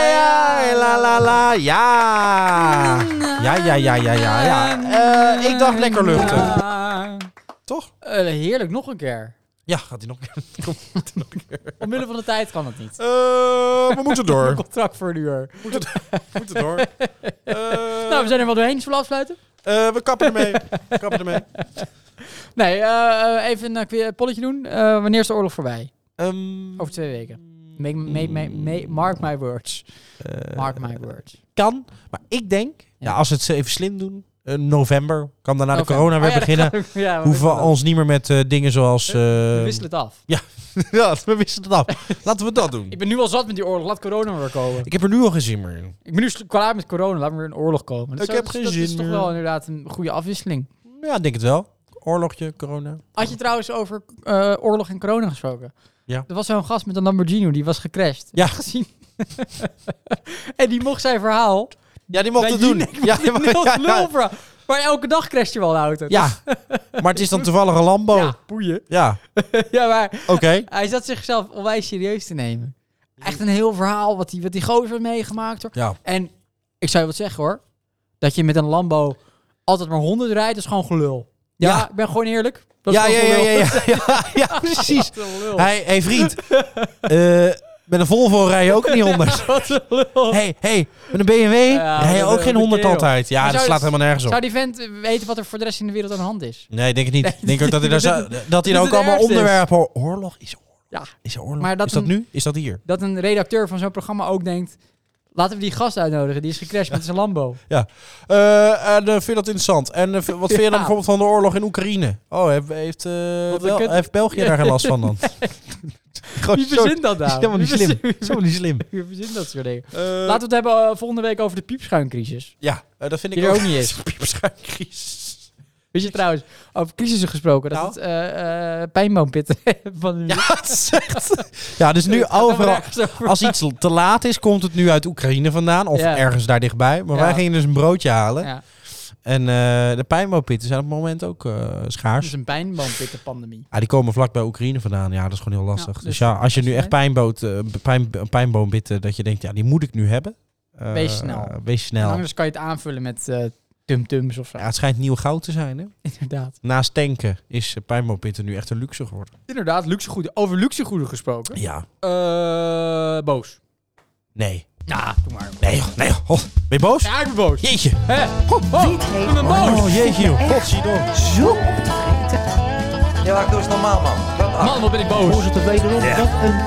Speaker 2: Ja, la la la. Ja. Ja, ja, ja, ja, ja. ja. Eh, ik dacht lekker luchtig.
Speaker 1: Ah,
Speaker 2: Toch?
Speaker 1: eh, heerlijk, nog een keer.
Speaker 2: Ja, gaat hij nog een keer. Komt hij nog een keer.
Speaker 1: Omwille van de tijd kan het niet.
Speaker 2: Eh, we moeten door.
Speaker 1: Contract voor een uur.
Speaker 2: We moeten, we moeten door. Eh,
Speaker 1: Nou, we zijn er wel doorheen. Zullen we afsluiten?
Speaker 2: eh, we kappen ermee. We kappen ermee.
Speaker 1: Nee, eh, eh, even een eh, polletje doen. Eh, wanneer is de oorlog voorbij?
Speaker 2: Ehm,
Speaker 1: Over twee weken. Make, make, make, make- mark my words.
Speaker 2: eh,
Speaker 1: Mark my words.
Speaker 2: kan, maar ik denk, ja. als we het even slim doen, eh, november, kan daarna
Speaker 1: Oké.
Speaker 2: de corona weer
Speaker 1: Oh ja, dat
Speaker 2: beginnen.
Speaker 1: kan ook. Ja, maar
Speaker 2: Hoeven
Speaker 1: dat
Speaker 2: we
Speaker 1: kan ook.
Speaker 2: ons niet meer met eh, dingen zoals...
Speaker 1: We
Speaker 2: eh,
Speaker 1: wisselen het af.
Speaker 2: ja, we wisselen het af. Laten we dat doen.
Speaker 1: Ik ben nu al zat met die oorlog. Laat corona maar weer komen.
Speaker 2: Ik heb er nu al geen zin meer in.
Speaker 1: Ik ben nu sl- klaar met corona. Laat maar weer een oorlog komen. Dat
Speaker 2: Ik
Speaker 1: is-
Speaker 2: heb geen
Speaker 1: dat is
Speaker 2: zin
Speaker 1: toch
Speaker 2: meer.
Speaker 1: wel inderdaad een goede afwisseling.
Speaker 2: Ja, ik denk het wel. Oorlogje, corona.
Speaker 1: Had je trouwens over eh, oorlog en corona gesproken?
Speaker 2: Ja.
Speaker 1: Er was zo'n gast met een Lamborghini die was gecrashed.
Speaker 2: Ja.
Speaker 1: Gezien. en die mocht zijn verhaal.
Speaker 2: Ja, die mocht
Speaker 1: bij
Speaker 2: het doen.
Speaker 1: Jinek
Speaker 2: Ja, die mocht-
Speaker 1: Nul
Speaker 2: ja,
Speaker 1: lul,
Speaker 2: ja.
Speaker 1: bro. Maar elke dag crasht je wel een auto.
Speaker 2: Ja, maar het is dan toevallig een Lambo.
Speaker 1: Ja,
Speaker 2: Ja,
Speaker 1: boeien. ja, maar
Speaker 2: oké.
Speaker 1: hij zat zichzelf onwijs serieus te nemen. Echt een heel verhaal wat die, wat die gozer heeft meegemaakt. Hoor.
Speaker 2: Ja.
Speaker 1: En ik zou je wat zeggen hoor. Dat je met een Lambo altijd maar 100 rijdt is gewoon gelul. Ja,
Speaker 2: Ja.
Speaker 1: ik ben gewoon eerlijk. Dat is
Speaker 2: Ja, ja,
Speaker 1: gewoon
Speaker 2: ja,
Speaker 1: gelul.
Speaker 2: ja, ja, ja, ja, precies.
Speaker 1: Wat een lul.
Speaker 2: Hey, hey vriend. Eh, met een Volvo rij je ook niet 100.
Speaker 1: Wat een lul.
Speaker 2: Hey, hey, met een BMW
Speaker 1: Ja,
Speaker 2: rij je
Speaker 1: wat
Speaker 2: ook
Speaker 1: een
Speaker 2: geen 100
Speaker 1: kerel.
Speaker 2: altijd. Ja,
Speaker 1: Maar
Speaker 2: dat
Speaker 1: zou
Speaker 2: slaat
Speaker 1: die-
Speaker 2: helemaal nergens
Speaker 1: Zou
Speaker 2: op.
Speaker 1: die vent weten wat er voor de rest in de wereld aan de hand is?
Speaker 2: Nee, ik denk het niet. Ik denk ook dat hij daar, zou- dat hij
Speaker 1: is
Speaker 2: daar ook
Speaker 1: het
Speaker 2: allemaal
Speaker 1: ergste.
Speaker 2: onderwerpen... hoor. Oorlog is oorlog.
Speaker 1: Ja.
Speaker 2: Is er oorlog?
Speaker 1: Maar dat
Speaker 2: is dat
Speaker 1: een-
Speaker 2: nu? Is dat hier?
Speaker 1: Dat een redacteur van zo'n programma ook denkt... Laten we die gast uitnodigen. Die is gecrashed met zijn Lambo.
Speaker 2: Ja. Eh, en eh, vind je dat interessant? En eh, v- wat vind je
Speaker 1: Ja.
Speaker 2: dan bijvoorbeeld van de oorlog in Oekraïne? Oh, heeft, heeft, eh, Bel-
Speaker 1: kut.
Speaker 2: heeft België daar geen last van dan? Gewoon
Speaker 1: Wie
Speaker 2: zo-
Speaker 1: verzint dat nou?
Speaker 2: is helemaal niet
Speaker 1: Wie
Speaker 2: slim.
Speaker 1: verzint-
Speaker 2: is helemaal niet slim.
Speaker 1: Wie verzint dat soort dingen?
Speaker 2: Eh,
Speaker 1: Laten we het hebben eh, volgende week over de piepschuimcrisis.
Speaker 2: Ja, eh, dat vind ik
Speaker 1: Die er ook niet is.
Speaker 2: Piepschuimcrisis.
Speaker 1: Weet je trouwens, over crisissen gesproken, dat
Speaker 2: Nou?
Speaker 1: het eh, eh, pijnboompitten van nu...
Speaker 2: Ja, het is echt... Ja, dus nu
Speaker 1: gaat helemaal
Speaker 2: overal...
Speaker 1: nergens over.
Speaker 2: Als iets te laat is, komt het nu uit Oekraïne vandaan. Of
Speaker 1: Ja.
Speaker 2: ergens daar dichtbij. Maar
Speaker 1: Ja.
Speaker 2: wij gingen dus een broodje halen.
Speaker 1: Ja,
Speaker 2: En eh, de pijnboompitten zijn op het moment ook eh,
Speaker 1: dat
Speaker 2: schaars.
Speaker 1: is een pijnboompittenpandemie.
Speaker 2: Ah, die komen vlak bij Oekraïne vandaan. Ja, dat is gewoon heel lastig.
Speaker 1: Ja,
Speaker 2: dus,
Speaker 1: dus-
Speaker 2: ja, als je nu
Speaker 1: dus
Speaker 2: echt pijnboot, eh, pijn, pijnboombitten, eh, dat je denkt, ja, die moet ik nu hebben. Eh,
Speaker 1: Wees snel.
Speaker 2: Wees
Speaker 1: En
Speaker 2: snel.
Speaker 1: Anders kan je het aanvullen met eh tumtums of zo.
Speaker 2: Ja, het schijnt nieuw goud te zijn, hè?
Speaker 1: Inderdaad.
Speaker 2: Naast tanken is eh, pijnboompitten nu echt een luxe geworden.
Speaker 1: Inderdaad, luxegoeden. Over luxegoeden gesproken.
Speaker 2: Ja.
Speaker 1: Eh, boos.
Speaker 2: Nee.
Speaker 1: Ja, doe maar.
Speaker 2: Nee, joh. Nee, joh. Oh, Ben je boos?
Speaker 1: Ja, ik ben boos.
Speaker 2: Jeetje.
Speaker 1: Hè? Ho, ho, ik ben boos.
Speaker 2: Oh, jeetje, joh. Godzijdank.
Speaker 1: Man, wat ben ik boos. Ik
Speaker 5: Voorzitter, wederom, wat een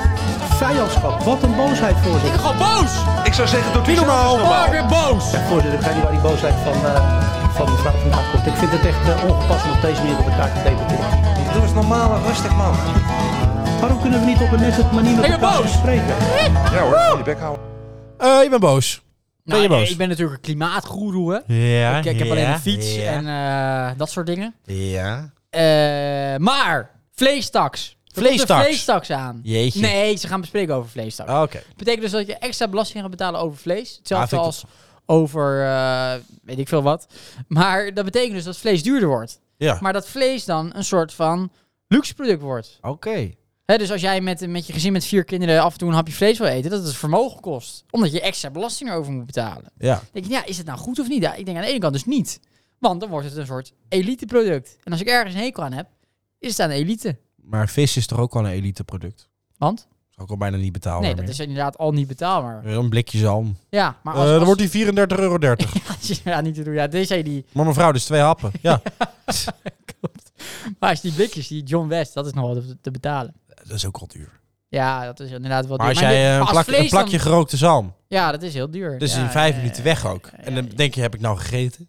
Speaker 5: vijandschap. Wat een boosheid, voorzitter.
Speaker 1: ben gewoon boos.
Speaker 6: Ik zou zeggen, doet u normaal.
Speaker 1: Oh, ik ben boos.
Speaker 5: Voorzitter, ik weet niet waar die boosheid van, eh, van mevrouw vandaan komt. Ik vind het echt eh, ongepast om op deze manier op elkaar te debatteren.
Speaker 6: Doe eens normaal en rustig, man.
Speaker 5: Waarom kunnen we niet op een nette manier met
Speaker 1: Ik ben
Speaker 5: elkaar
Speaker 1: boos.
Speaker 5: spreken?
Speaker 6: Ja hoor, die bek houden.
Speaker 2: Eh, ik ben boos.
Speaker 1: Nou,
Speaker 2: je boos?
Speaker 1: Ik, ik ben natuurlijk een klimaatgoeroe, hè.
Speaker 2: Ja,
Speaker 1: ik, ik heb alleen
Speaker 2: ja,
Speaker 1: een fiets
Speaker 2: ja,
Speaker 1: en eh, dat soort dingen.
Speaker 2: Ja.
Speaker 1: Eh, maar, vleestaks. Er komt een
Speaker 2: Vleestaks.
Speaker 1: vleestaks aan.
Speaker 2: Jeetje.
Speaker 1: Nee, ze gaan bespreken over vleestaks.
Speaker 2: Ah, Oké.
Speaker 1: Betekent dus dat je extra belasting gaat betalen over vlees. Hetzelfde
Speaker 2: Ah, vind ik
Speaker 1: als over, eh, weet ik veel wat. Maar dat betekent dus dat vlees duurder wordt.
Speaker 2: Ja.
Speaker 1: Maar dat vlees dan een soort van luxe product wordt.
Speaker 2: Oké.
Speaker 1: Hè, dus als jij met, met je gezin met vier kinderen af en toe een hapje vlees wil eten, dat het vermogen kost. Omdat je extra belasting erover moet betalen.
Speaker 2: Ja.
Speaker 1: denk je, ja, is het nou goed of niet? Ja, ik denk aan de ene kant dus niet. Want dan wordt het een soort elite product. En als ik ergens een hekel aan heb, is het aan elite.
Speaker 2: Maar vis is toch ook al een elite product?
Speaker 1: Want?
Speaker 2: Is ook al bijna niet betaalbaar
Speaker 1: Nee, dat
Speaker 2: meer. Eh,
Speaker 1: is inderdaad al niet betaalbaar.
Speaker 2: Een blikje zalm.
Speaker 1: Ja, maar
Speaker 2: Eh,
Speaker 1: als...
Speaker 2: dan
Speaker 1: als-
Speaker 2: wordt die 34,30 euro.
Speaker 1: Ja, niet te doen. Ja, deze die...
Speaker 2: Maar mevrouw, dus twee happen. Ja,
Speaker 1: Maar als die blikjes, die John West, dat is nog wel te- te betalen.
Speaker 2: dat is ook al duur.
Speaker 1: Ja, dat is inderdaad wel
Speaker 2: Maar
Speaker 1: duur.
Speaker 2: als jij
Speaker 1: dit-
Speaker 2: eh,
Speaker 1: maar
Speaker 2: een,
Speaker 1: als
Speaker 2: plak- een
Speaker 1: vlees dan-
Speaker 2: plakje gerookte zalm,
Speaker 1: Ja, dat is heel duur.
Speaker 2: dus
Speaker 1: Ja,
Speaker 2: in vijf
Speaker 1: ja,
Speaker 2: minuten
Speaker 1: ja.
Speaker 2: weg ook. En dan denk je, heb ik nou gegeten?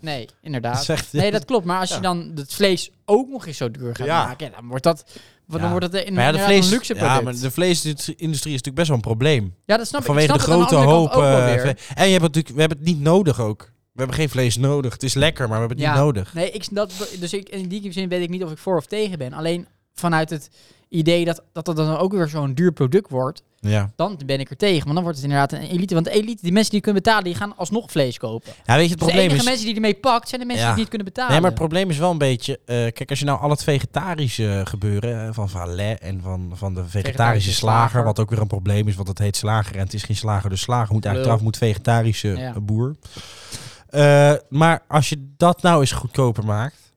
Speaker 1: Nee,
Speaker 2: Dat
Speaker 1: inderdaad.
Speaker 2: is echt-
Speaker 1: Nee, dat klopt. Maar als je
Speaker 2: Ja.
Speaker 1: dan het vlees ook nog eens zo duur gaat
Speaker 2: Ja.
Speaker 1: maken, ja, dan wordt dat... Dan
Speaker 2: Ja.
Speaker 1: wordt dat een,
Speaker 2: Maar ja, de
Speaker 1: inderdaad
Speaker 2: vlees,
Speaker 1: een luxe product.
Speaker 2: ja, maar de vleesindustrie is natuurlijk best wel een probleem.
Speaker 1: Ja, dat snap ik.
Speaker 2: Vanwege
Speaker 1: ik.
Speaker 2: de
Speaker 1: snap het aan
Speaker 2: grote
Speaker 1: andere
Speaker 2: hoop.
Speaker 1: kant ook wel
Speaker 2: eh,
Speaker 1: weer.
Speaker 2: vle- en je hebt het natuurlijk, we hebben het niet nodig ook.
Speaker 7: hebben geen vlees nodig. Het is lekker, maar we hebben het niet nodig.
Speaker 1: Nee, ik, dat, dus ik, in die zin weet ik niet of ik voor of tegen ben. Alleen vanuit het idee dat dat, dat dan ook weer zo'n duur product wordt,
Speaker 7: Ja.
Speaker 1: dan ben ik er tegen. Want dan wordt het inderdaad een elite. Want de elite, die mensen die kunnen betalen, die gaan alsnog vlees kopen.
Speaker 7: ja, weet je, het
Speaker 1: Dus de
Speaker 7: probleem
Speaker 1: enige
Speaker 7: is...
Speaker 1: mensen die ermee pakt, zijn de mensen
Speaker 7: Ja.
Speaker 1: die het niet kunnen betalen.
Speaker 7: Nee, maar het probleem is wel een beetje... eh, kijk, als je nou al het vegetarische gebeuren... eh, van Valet en van, van de vegetarische
Speaker 1: Vegetarische
Speaker 7: slager...
Speaker 1: slager.
Speaker 7: wat ook weer een probleem is, want het heet slager... en het is geen slager, dus slager moet eigenlijk
Speaker 1: Lul.
Speaker 7: eraf... moet vegetarische
Speaker 1: Ja.
Speaker 7: eh, boer. Eh, maar als je dat nou eens goedkoper maakt...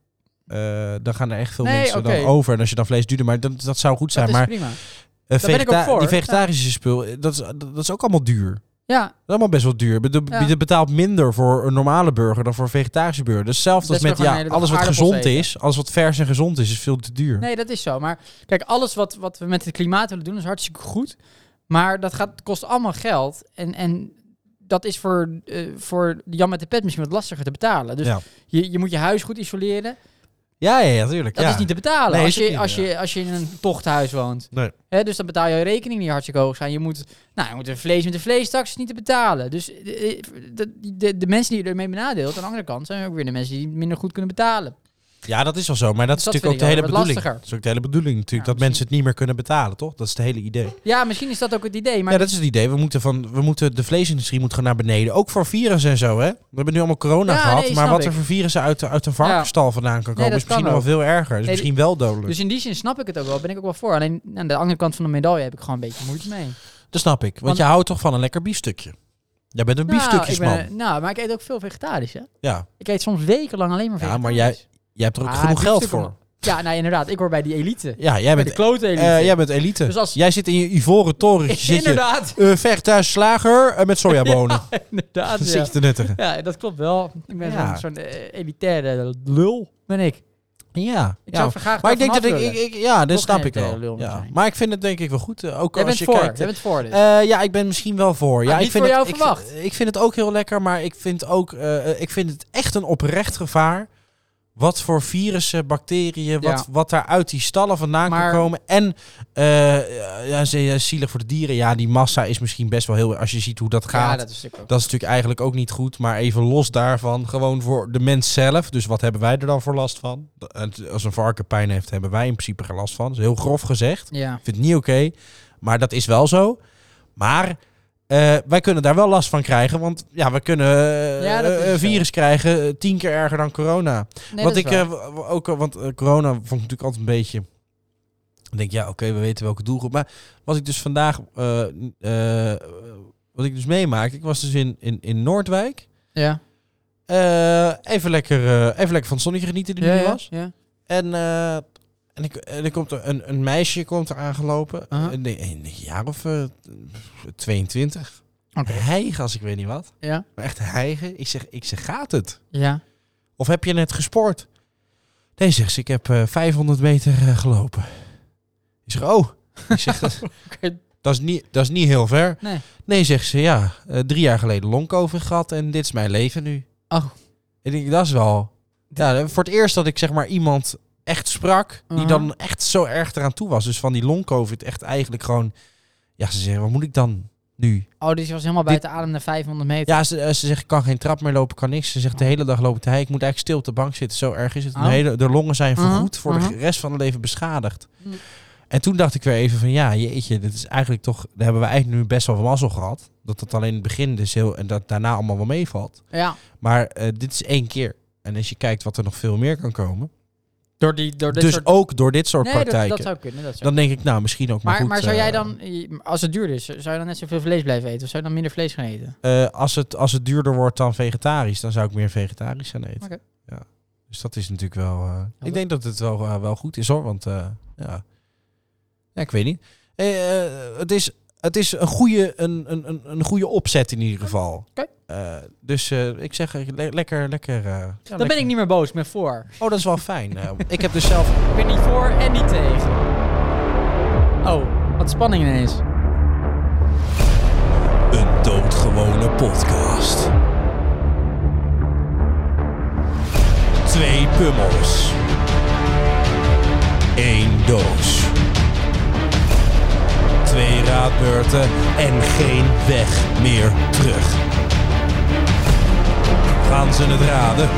Speaker 7: eh, dan gaan er echt veel
Speaker 1: Nee,
Speaker 7: mensen
Speaker 1: oké.
Speaker 7: dan over. En als je dan vlees duurder... maar dat, dat zou goed zijn,
Speaker 1: dat is
Speaker 7: maar...
Speaker 1: prima.
Speaker 7: eh,
Speaker 1: Daar ben ik ook
Speaker 7: vegeta-
Speaker 1: voor.
Speaker 7: Die vegetarische spul, eh, dat is, dat dat is ook allemaal duur.
Speaker 1: Ja,
Speaker 7: Dat is allemaal best wel duur. Be- de-
Speaker 1: Ja.
Speaker 7: Je betaalt minder voor een normale burger dan voor een vegetarische burger. Dus hetzelfde als
Speaker 1: Best
Speaker 7: met
Speaker 1: wel gewoon
Speaker 7: ja,
Speaker 1: een hele
Speaker 7: alles
Speaker 1: dag
Speaker 7: wat
Speaker 1: aardappels
Speaker 7: gezond
Speaker 1: eten.
Speaker 7: is, alles wat vers en gezond is, is veel te duur.
Speaker 1: nee, dat is zo. Maar kijk, alles wat, wat we met het klimaat willen doen is hartstikke goed. Maar dat gaat, kost allemaal geld. En, en dat is voor, eh, voor Jan met de pet misschien wat lastiger te betalen. Dus
Speaker 7: ja.
Speaker 1: je, je moet je huis goed isoleren.
Speaker 7: ja, ja, ja, tuurlijk.
Speaker 1: Dat
Speaker 7: ja.
Speaker 1: is niet te betalen
Speaker 7: Nee,
Speaker 1: als,
Speaker 7: is het
Speaker 1: je,
Speaker 7: niet,
Speaker 1: als,
Speaker 7: ja.
Speaker 1: je, als je in een tochthuis woont.
Speaker 7: Nee.
Speaker 1: Hè, dus dan betaal je rekening die hartstikke hoog zijn. Je moet, nou, je moet een vlees met de vleestaks is niet te betalen. Dus eh, de, de, de mensen die je ermee benadeelt, aan de andere kant, zijn ook weer de mensen die minder goed kunnen betalen.
Speaker 7: ja, dat is wel zo. Maar dat is
Speaker 1: Dus dat
Speaker 7: natuurlijk ook de
Speaker 1: vind ik
Speaker 7: hele
Speaker 1: wel wat
Speaker 7: bedoeling.
Speaker 1: lastiger.
Speaker 7: Dat is ook de hele bedoeling natuurlijk,
Speaker 1: Ja,
Speaker 7: dat mensen het niet meer kunnen betalen, toch? Dat is het hele idee.
Speaker 1: Ja, misschien is dat ook het idee. Maar
Speaker 7: ja, dat is het idee. We moeten van, we moeten, de vleesindustrie moet gewoon naar beneden. Ook voor virussen en zo, hè? We hebben nu allemaal corona
Speaker 1: Ja,
Speaker 7: gehad.
Speaker 1: nee,
Speaker 7: maar
Speaker 1: snap
Speaker 7: wat er
Speaker 1: ik.
Speaker 7: voor virussen uit, de- uit een varkensstal vandaan kan komen,
Speaker 1: dat
Speaker 7: is misschien
Speaker 1: kan
Speaker 7: nog wel veel erger. Dus
Speaker 1: Nee,
Speaker 7: misschien wel dodelijk.
Speaker 1: Dus in die zin snap ik het ook wel, ben ik ook wel voor. Alleen aan de andere kant van de medaille heb ik gewoon een beetje moeite mee.
Speaker 7: Dat snap ik. Want
Speaker 1: Want-
Speaker 7: je houdt toch van een lekker biefstukje. Jij bent een biefstukjesman.
Speaker 1: Nou, ik ben- nou, maar ik eet ook veel vegetarisch, hè.
Speaker 7: Ja.
Speaker 1: Ik eet soms wekenlang alleen maar
Speaker 7: Ja,
Speaker 1: vegetarisch.
Speaker 7: maar jij, jij hebt er ook
Speaker 1: Ah,
Speaker 7: genoeg geld voor.
Speaker 1: biefstukken- Ja, nou inderdaad, ik hoor bij die elite.
Speaker 7: Ja, jij
Speaker 1: Bij de
Speaker 7: bent,
Speaker 1: klote elite.
Speaker 7: eh, jij bent elite.
Speaker 1: Dus als-
Speaker 7: Jij zit in je ivoren torentje. zit je,
Speaker 1: inderdaad.
Speaker 7: eh, vegetarisch slager eh, met sojabonen.
Speaker 1: Inderdaad,
Speaker 7: Dat
Speaker 1: ja.
Speaker 7: zit je te nuttigen.
Speaker 1: Ja, dat klopt wel. Ik ben
Speaker 7: Ja.
Speaker 1: zo'n- zo'n eh, elitaire lul, ben ik.
Speaker 7: Ja.
Speaker 1: Ik
Speaker 7: ja.
Speaker 1: zou graag
Speaker 7: maar ik denk
Speaker 1: daarvan
Speaker 7: dat ik,
Speaker 1: af
Speaker 7: ik,
Speaker 1: willen.
Speaker 7: ik- Ja, dat
Speaker 1: Toch
Speaker 7: snap
Speaker 1: geen
Speaker 7: ik
Speaker 1: hele lul
Speaker 7: wel.
Speaker 1: meer
Speaker 7: Ja.
Speaker 1: zijn.
Speaker 7: Maar ik vind het denk ik wel goed. eh, Ook
Speaker 1: Jij
Speaker 7: als
Speaker 1: bent
Speaker 7: je
Speaker 1: voor,
Speaker 7: kijkt.
Speaker 1: jij bent voor dus.
Speaker 7: Eh, ja, ik ben misschien wel voor. Ja,
Speaker 1: niet
Speaker 7: ik vind
Speaker 1: voor
Speaker 7: het,
Speaker 1: jou
Speaker 7: ik,
Speaker 1: verwacht.
Speaker 7: vind- Ik vind het ook heel lekker, maar ik vind, ook, eh, ik vind het echt een oprecht gevaar. Wat voor virussen, bacteriën, wat,
Speaker 1: Ja.
Speaker 7: wat daar uit die stallen vandaan
Speaker 1: Maar-
Speaker 7: kan komen. En eh, ja, ze- ja, zielig voor de dieren. Ja, die massa is misschien best wel heel... Als je ziet hoe dat gaat,
Speaker 1: ja,
Speaker 7: dat...
Speaker 1: dat is natuurlijk ook.
Speaker 7: is natuurlijk eigenlijk ook niet goed. Maar even los daarvan, gewoon voor de mens zelf. Dus wat hebben wij er dan voor last van? Dat- Als een varken pijn heeft, hebben wij in principe geen last van. Dat is heel grof gezegd.
Speaker 1: Ja.
Speaker 7: Ik vind het niet oké, maar dat is wel zo. Maar eh, wij kunnen daar wel last van krijgen, want ja, we kunnen eh,
Speaker 1: Ja, dat is
Speaker 7: een
Speaker 1: zo.
Speaker 7: virus krijgen eh, tien keer erger dan corona.
Speaker 1: Nee,
Speaker 7: Wat
Speaker 1: dat is
Speaker 7: ik
Speaker 1: waar.
Speaker 7: eh, w- w- ook, eh, want eh, corona vond ik natuurlijk altijd een beetje. Ik denk ja, oké, we weten welke doelgroep. Maar wat ik dus vandaag, eh, eh, wat ik dus meemaakte, ik was dus in in, in Noordwijk.
Speaker 1: ja.
Speaker 7: Eh, even leer even lekker van het zonnetje genieten die
Speaker 1: Ja,
Speaker 7: nu
Speaker 1: ja,
Speaker 7: was.
Speaker 1: ja.
Speaker 7: En, eh, en, ik, en er komt er een, een meisje komt er aangelopen.
Speaker 1: Aha.
Speaker 7: Een, een jaar of eh, 22.
Speaker 1: Oké.
Speaker 7: Hijgen als ik weet niet wat.
Speaker 1: Ja.
Speaker 7: Maar echt hijgen. Ik zeg, ik zeg, gaat het?
Speaker 1: Ja.
Speaker 7: Of heb je net gesport? Nee, zegt ze, ik heb eh, 500 meter eh, gelopen. Ik zeg, oh. Ik zeg, dat,
Speaker 1: Oké.
Speaker 7: dat, is niet, dat is niet heel ver.
Speaker 1: Nee.
Speaker 7: Nee, zegt ze, ja. eh, drie jaar geleden longcovid gehad en dit is mijn leven nu.
Speaker 1: Oh.
Speaker 7: Ik denk, dat is wel... Ja, voor het eerst dat ik zeg maar iemand echt sprak... die
Speaker 1: Aha.
Speaker 7: dan echt zo erg eraan toe was. Dus van die longcovid echt eigenlijk gewoon... Ja, ze zeggen, wat moet ik dan nu?
Speaker 1: Oh, dus je was helemaal
Speaker 7: Dit-
Speaker 1: buiten adem na 500 meter.
Speaker 7: Ja, ze, eh, ze zegt, ik kan geen trap meer lopen, kan niks. Ze zegt, de hele dag lopen te hei. Ik moet eigenlijk stil op de bank zitten. Zo erg is het. De,
Speaker 1: Oh.
Speaker 7: hele, de longen zijn
Speaker 1: Uh-huh,
Speaker 7: vergoed voor de
Speaker 1: uh-huh.
Speaker 7: rest van het leven beschadigd.
Speaker 1: Hm.
Speaker 7: En toen dacht ik weer even van, ja, jeetje, dit is eigenlijk toch... Daar hebben we eigenlijk nu best wel veel mazzel gehad. Dat dat alleen in het begin dus heel... En dat daarna allemaal wel meevalt.
Speaker 1: Ja.
Speaker 7: Maar eh, dit is één keer. En als je kijkt wat er nog veel meer kan komen.
Speaker 1: Door, die, door dit
Speaker 7: Dus
Speaker 1: soort...
Speaker 7: ook door dit soort
Speaker 1: nee, dat,
Speaker 7: praktijken.
Speaker 1: dat zou kunnen. Dat zou
Speaker 7: Dan denk ik, nou, misschien ook maar,
Speaker 1: maar,
Speaker 7: goed,
Speaker 1: maar zou
Speaker 7: eh,
Speaker 1: jij dan, eh, als het duur is, zou je dan net zoveel vlees blijven eten? Of zou je dan minder vlees gaan eten?
Speaker 7: eh, als, het, als het duurder wordt dan vegetarisch, dan zou ik meer vegetarisch gaan eten.
Speaker 1: Oké.
Speaker 7: Ja. Dus dat is natuurlijk wel... eh, ik denk dat het wel, eh, wel goed is hoor, want eh, ja. ja, ik weet niet. Eh, eh, het, is, het is een goede, een, een, een, een goede opzet in ieder geval.
Speaker 1: Oké.
Speaker 7: Eh, dus eh, ik zeg, eh, le- lekker, lekker... eh, ja,
Speaker 1: Dan ben
Speaker 7: lekker.
Speaker 1: ik niet meer boos, ik ben voor.
Speaker 7: Oh, dat is wel fijn. Eh, ik heb dus zelf...
Speaker 1: Ik ben niet voor en niet tegen. Oh, wat spanning ineens.
Speaker 7: Een doodgewone podcast. Twee pummels. Eén doos. Twee raadbeurten en geen weg meer terug. Gaan mensen het raden.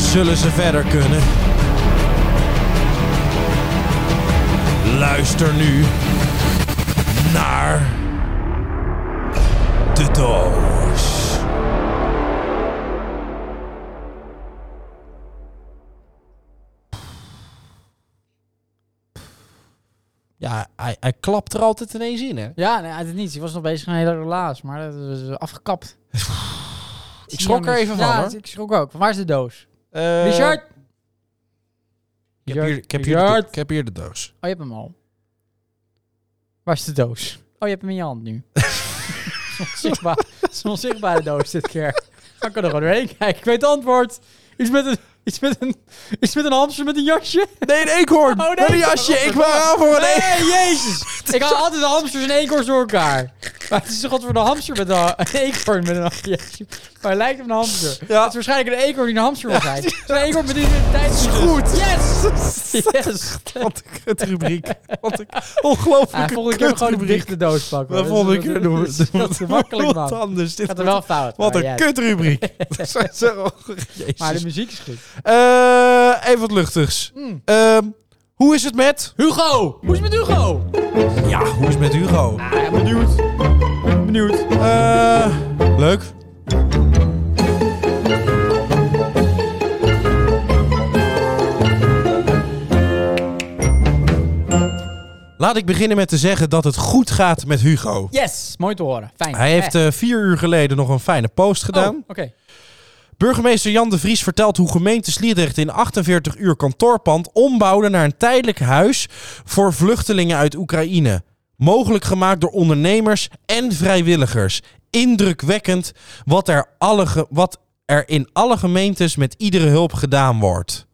Speaker 7: Zullen ze verder kunnen? Luister nu naar de doos. Ja, hij, hij klapt er altijd ineens in, hè?
Speaker 1: Ja, nee, uit het niets. Die was nog bezig met een hele relaas, maar dat is eh, afgekapt.
Speaker 7: Ik schrok er even van,
Speaker 1: ja,
Speaker 7: hoor.
Speaker 1: ik schrok ook. Waar is de doos?
Speaker 7: Eh,
Speaker 1: Richard!
Speaker 7: Ik heb, hier, ik, heb hier de,
Speaker 1: Richard!
Speaker 7: ik heb hier de doos.
Speaker 1: Oh, je hebt hem al. Waar is de doos? Oh, je hebt hem in je hand nu. Onzichtbaar. Het is een onzichtbare doos dit keer. Dan kan er gewoon doorheen kijken. Ik weet het antwoord. Iets met een, iets met een, iets met een hamster met een jasje.
Speaker 7: Nee, een eekhoorn!
Speaker 1: Oh, nee.
Speaker 7: Met een jasje! Oh, Ik wou aan voor een eekhoorn!
Speaker 1: Nee, jezus. Ik haal altijd de hamsters en eekhoorns door elkaar. Maar het is toch altijd voor de hamster met een, een eekhoorn met een jasje. Maar hij lijkt op een hamster.
Speaker 7: Ja.
Speaker 1: Het is waarschijnlijk een eekhoorn die een hamster wil zijn. Het is Een eekhoorn met een identiteit.
Speaker 7: goed.
Speaker 1: Yes! Yes!
Speaker 7: Wat een kutrubriek. Wat een
Speaker 1: Ja,
Speaker 7: ongelooflijke
Speaker 1: volgende keer gewoon een
Speaker 7: kutrubriek.
Speaker 1: dichte doos pakken.
Speaker 7: Dat
Speaker 1: hoor.
Speaker 7: vond ik
Speaker 1: Dat is-
Speaker 7: er door.
Speaker 1: dat is- Dat is te makkelijk,
Speaker 7: Wat
Speaker 1: man.
Speaker 7: anders. Dit
Speaker 1: Gaat er wel
Speaker 7: wordt-
Speaker 1: fout.
Speaker 7: Wat
Speaker 1: maar
Speaker 7: een
Speaker 1: ja,
Speaker 7: kutrubriek. Dat zijn zo- Jezus.
Speaker 1: Maar de muziek Mm. is goed.
Speaker 7: Eh, even wat luchtigs. Ehm, hoe is het met...
Speaker 1: Hugo! Hoe is het met Hugo?
Speaker 7: Ja, hoe is het met Hugo?
Speaker 1: Ah, benieuwd. Benieuwd.
Speaker 7: Eh, leuk. Laat ik beginnen met te zeggen dat het goed gaat met Hugo.
Speaker 1: Yes! Mooi te horen. Fijn.
Speaker 7: Hij heeft
Speaker 1: Eh.
Speaker 7: eh, vier uur geleden nog een fijne post gedaan.
Speaker 1: Oh, Oké.
Speaker 7: Burgemeester Jan de Vries vertelt hoe gemeente Sliedrecht in 48 uur kantoorpand ombouwde naar een tijdelijk huis voor vluchtelingen uit Oekraïne. Mogelijk gemaakt door ondernemers en vrijwilligers. Indrukwekkend wat er, alle ge- wat er in alle gemeentes met iedere hulp gedaan wordt.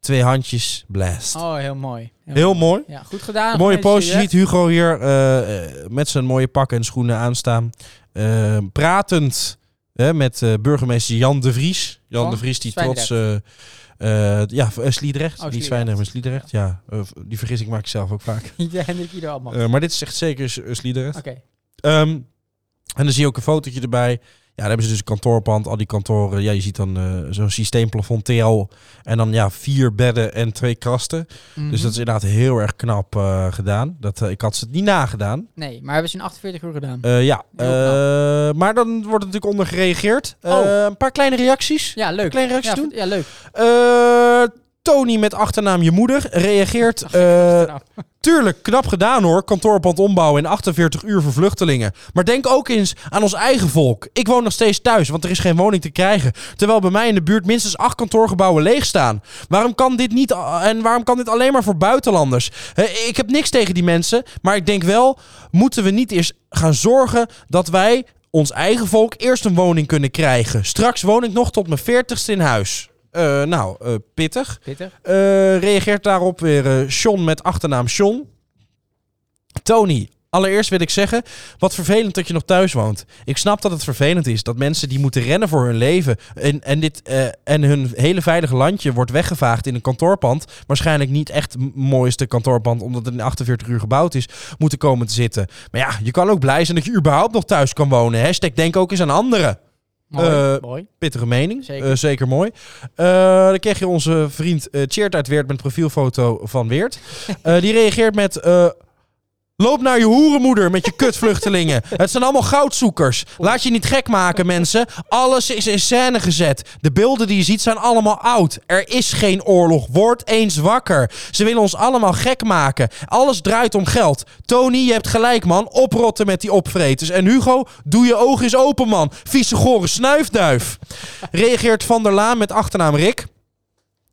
Speaker 7: Twee handjes, blast.
Speaker 1: Oh, heel mooi.
Speaker 7: Heel mooi.
Speaker 1: Ja, goed gedaan.
Speaker 7: Een mooie
Speaker 1: Goed
Speaker 7: post. Je
Speaker 1: gezien,
Speaker 7: ziet Hugo hier eh, eh, met zijn mooie pak en schoenen aanstaan. Eh, pratend hè, met eh, burgemeester Jan de Vries. Jan
Speaker 1: Van
Speaker 7: de Vries die
Speaker 1: Oh, Zwijndrecht.
Speaker 7: trots... eh, eh, ja, eh, Sliedrecht.
Speaker 1: Oh,
Speaker 7: Niet
Speaker 1: Sliedrecht.
Speaker 7: Zwijndrecht, maar Sliedrecht. Ja, eh, die vergissing maak ik zelf ook vaak.
Speaker 1: hè? Niet Hendrik Ieder allemaal.
Speaker 7: Eh, maar dit is echt zeker S- eh, Sliedrecht.
Speaker 1: Oké.
Speaker 7: Ehm, en dan zie je ook een fotootje erbij. Ja, daar hebben ze dus een kantoorpand, al die kantoren. Ja, je ziet dan eh, zo'n systeemplafond TL. En dan ja, vier bedden en twee kasten.
Speaker 1: Mhm.
Speaker 7: Dus dat is inderdaad heel erg knap eh, gedaan. Dat, eh, ik had ze het niet nagedaan.
Speaker 1: Nee, maar hebben ze in 48 uur gedaan.
Speaker 7: Eh, ja,
Speaker 1: Heel
Speaker 7: eh, maar dan wordt er natuurlijk onder gereageerd. Eh,
Speaker 1: Oh.
Speaker 7: Een paar kleine reacties.
Speaker 1: ja, leuk.
Speaker 7: kleine reactie
Speaker 1: ja,
Speaker 7: doen?
Speaker 1: v- Ja, leuk.
Speaker 7: Eh, Tony met achternaam je moeder reageert. eh,
Speaker 1: Nou,
Speaker 7: Tuurlijk, knap gedaan hoor. Kantoorpand ombouwen in 48 uur voor vluchtelingen. Maar denk ook eens aan ons eigen volk. Ik woon nog steeds thuis, want er is geen woning te krijgen. Terwijl bij mij in de buurt minstens acht kantoorgebouwen leeg staan. Waarom kan dit niet a- en waarom kan dit alleen maar voor buitenlanders? Hè, Ik heb niks tegen die mensen, maar ik denk wel, moeten we niet eerst gaan zorgen dat wij ons eigen volk eerst een woning kunnen krijgen. Straks woon ik nog tot mijn 40ste in huis. Eh, nou, eh, pittig.
Speaker 1: pittig.
Speaker 7: Eh, reageert daarop weer eh Sean met achternaam Sean. Tony, allereerst wil ik zeggen, wat vervelend dat je nog thuis woont. Ik snap dat het vervelend is dat mensen die moeten rennen voor hun leven en, en, dit, eh, en hun hele veilige landje wordt weggevaagd in een kantoorpand, waarschijnlijk niet echt het m- mooiste kantoorpand omdat het in 48 uur gebouwd is, moeten komen te zitten. Maar ja, je kan ook blij zijn dat je überhaupt nog thuis kan wonen. Hashtag denk ook eens aan anderen.
Speaker 1: Mooi.
Speaker 7: eh,
Speaker 1: mooi.
Speaker 7: Pittige mening.
Speaker 1: Zeker.
Speaker 7: Zeker, zeker mooi. Eh, dan kreeg je onze vriend eh Cheert uit Weert met een profielfoto van Weert. Eh, die reageert met... eh, Loop naar je hoerenmoeder met je kutvluchtelingen. Het zijn allemaal goudzoekers. Laat je niet gek maken, mensen. Alles is in scène gezet. De beelden die je ziet zijn allemaal oud. Er is geen oorlog. Word eens wakker. Ze willen ons allemaal gek maken. Alles draait om geld. Tony, je hebt gelijk, man. Oprotten met die opvreters. En Hugo, doe je oog eens open, man. Vieze gore snuifduif. Reageert Van der Laan met achternaam Rick.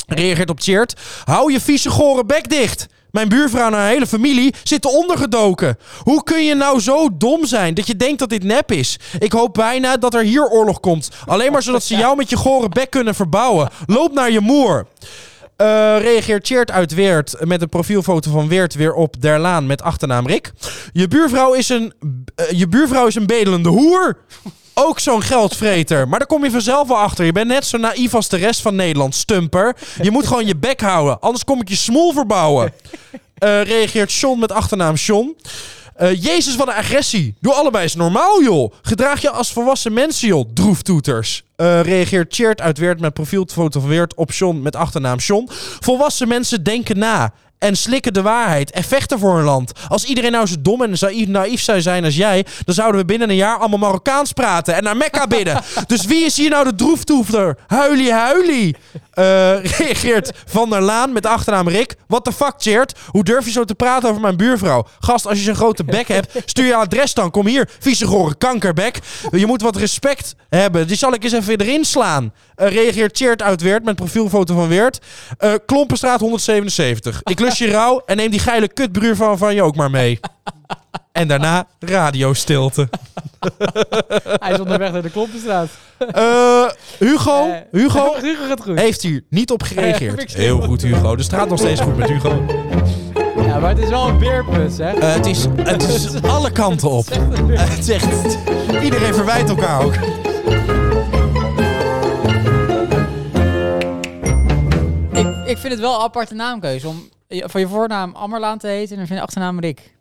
Speaker 7: Reageert op Cheert. Hou je vieze gore bek dicht. Mijn buurvrouw en haar hele familie zitten ondergedoken. Hoe kun je nou zo dom zijn dat je denkt dat dit nep is? Ik hoop bijna dat er hier oorlog komt. Alleen maar zodat ze jou met je gore bek kunnen verbouwen. Loop naar je moer. Eh, reageert Cheert uit Weert met een profielfoto van Weert weer op Derlaan met achternaam Rick. Je buurvrouw is een, eh, je buurvrouw is een bedelende hoer. Ook zo'n geldvreter. Maar daar kom je vanzelf wel achter. Je bent net zo naïef als de rest van Nederland, stumper. Je moet gewoon je bek houden, anders kom ik je smoel verbouwen. Eh, reageert Sean met achternaam Sean. Eh, Jezus, wat een agressie. Doe allebei eens normaal, joh. Gedraag je als volwassen mensen, joh. Droeftoeters. Eh, reageert Chert uit Weert met profielfoto van Weert op John met achternaam John. Volwassen mensen denken na. En slikken de waarheid. En vechten voor hun land. Als iedereen nou zo dom en zaï- naïef zou zijn als jij. dan zouden we binnen een jaar allemaal Marokkaans praten. En naar Mekka bidden. dus wie is hier nou de droeftoeter? Huilie, huilie. Eh, reageert Van der Laan met de achternaam Rick. What the fuck, Chert? Hoe durf je zo te praten over mijn buurvrouw? Gast, als je zo'n grote bek hebt, stuur je adres dan. Kom hier, vieze gore kankerbek. Je moet wat respect hebben. Die zal ik eens even erin slaan. Eh, reageert Chert uit Weert met profielfoto van Weert. Eh, Klompenstraat 177. Ik lus je rouw en neem die geile kutbuurvrouw van je ook maar mee. En daarna radiostilte.
Speaker 1: Hij is onderweg naar de Kloppenstraat.
Speaker 7: Eh, Hugo,
Speaker 1: Eh,
Speaker 7: Hugo
Speaker 1: Hugo gaat goed.
Speaker 7: heeft hier niet op
Speaker 1: Eh,
Speaker 7: gereageerd.
Speaker 1: fix-
Speaker 7: Heel goed, Hugo. Dus het gaat nog steeds goed met Hugo.
Speaker 1: Ja, maar het is wel een beerput, hè?
Speaker 7: Eh, het, is, het is alle kanten op. Eh, het is echt... Iedereen verwijt elkaar ook. Eh.
Speaker 1: Ik, ik vind het wel een aparte naamkeuze om je- van je voornaam Ammerlaan te heten en dan vind je achternaam Rick.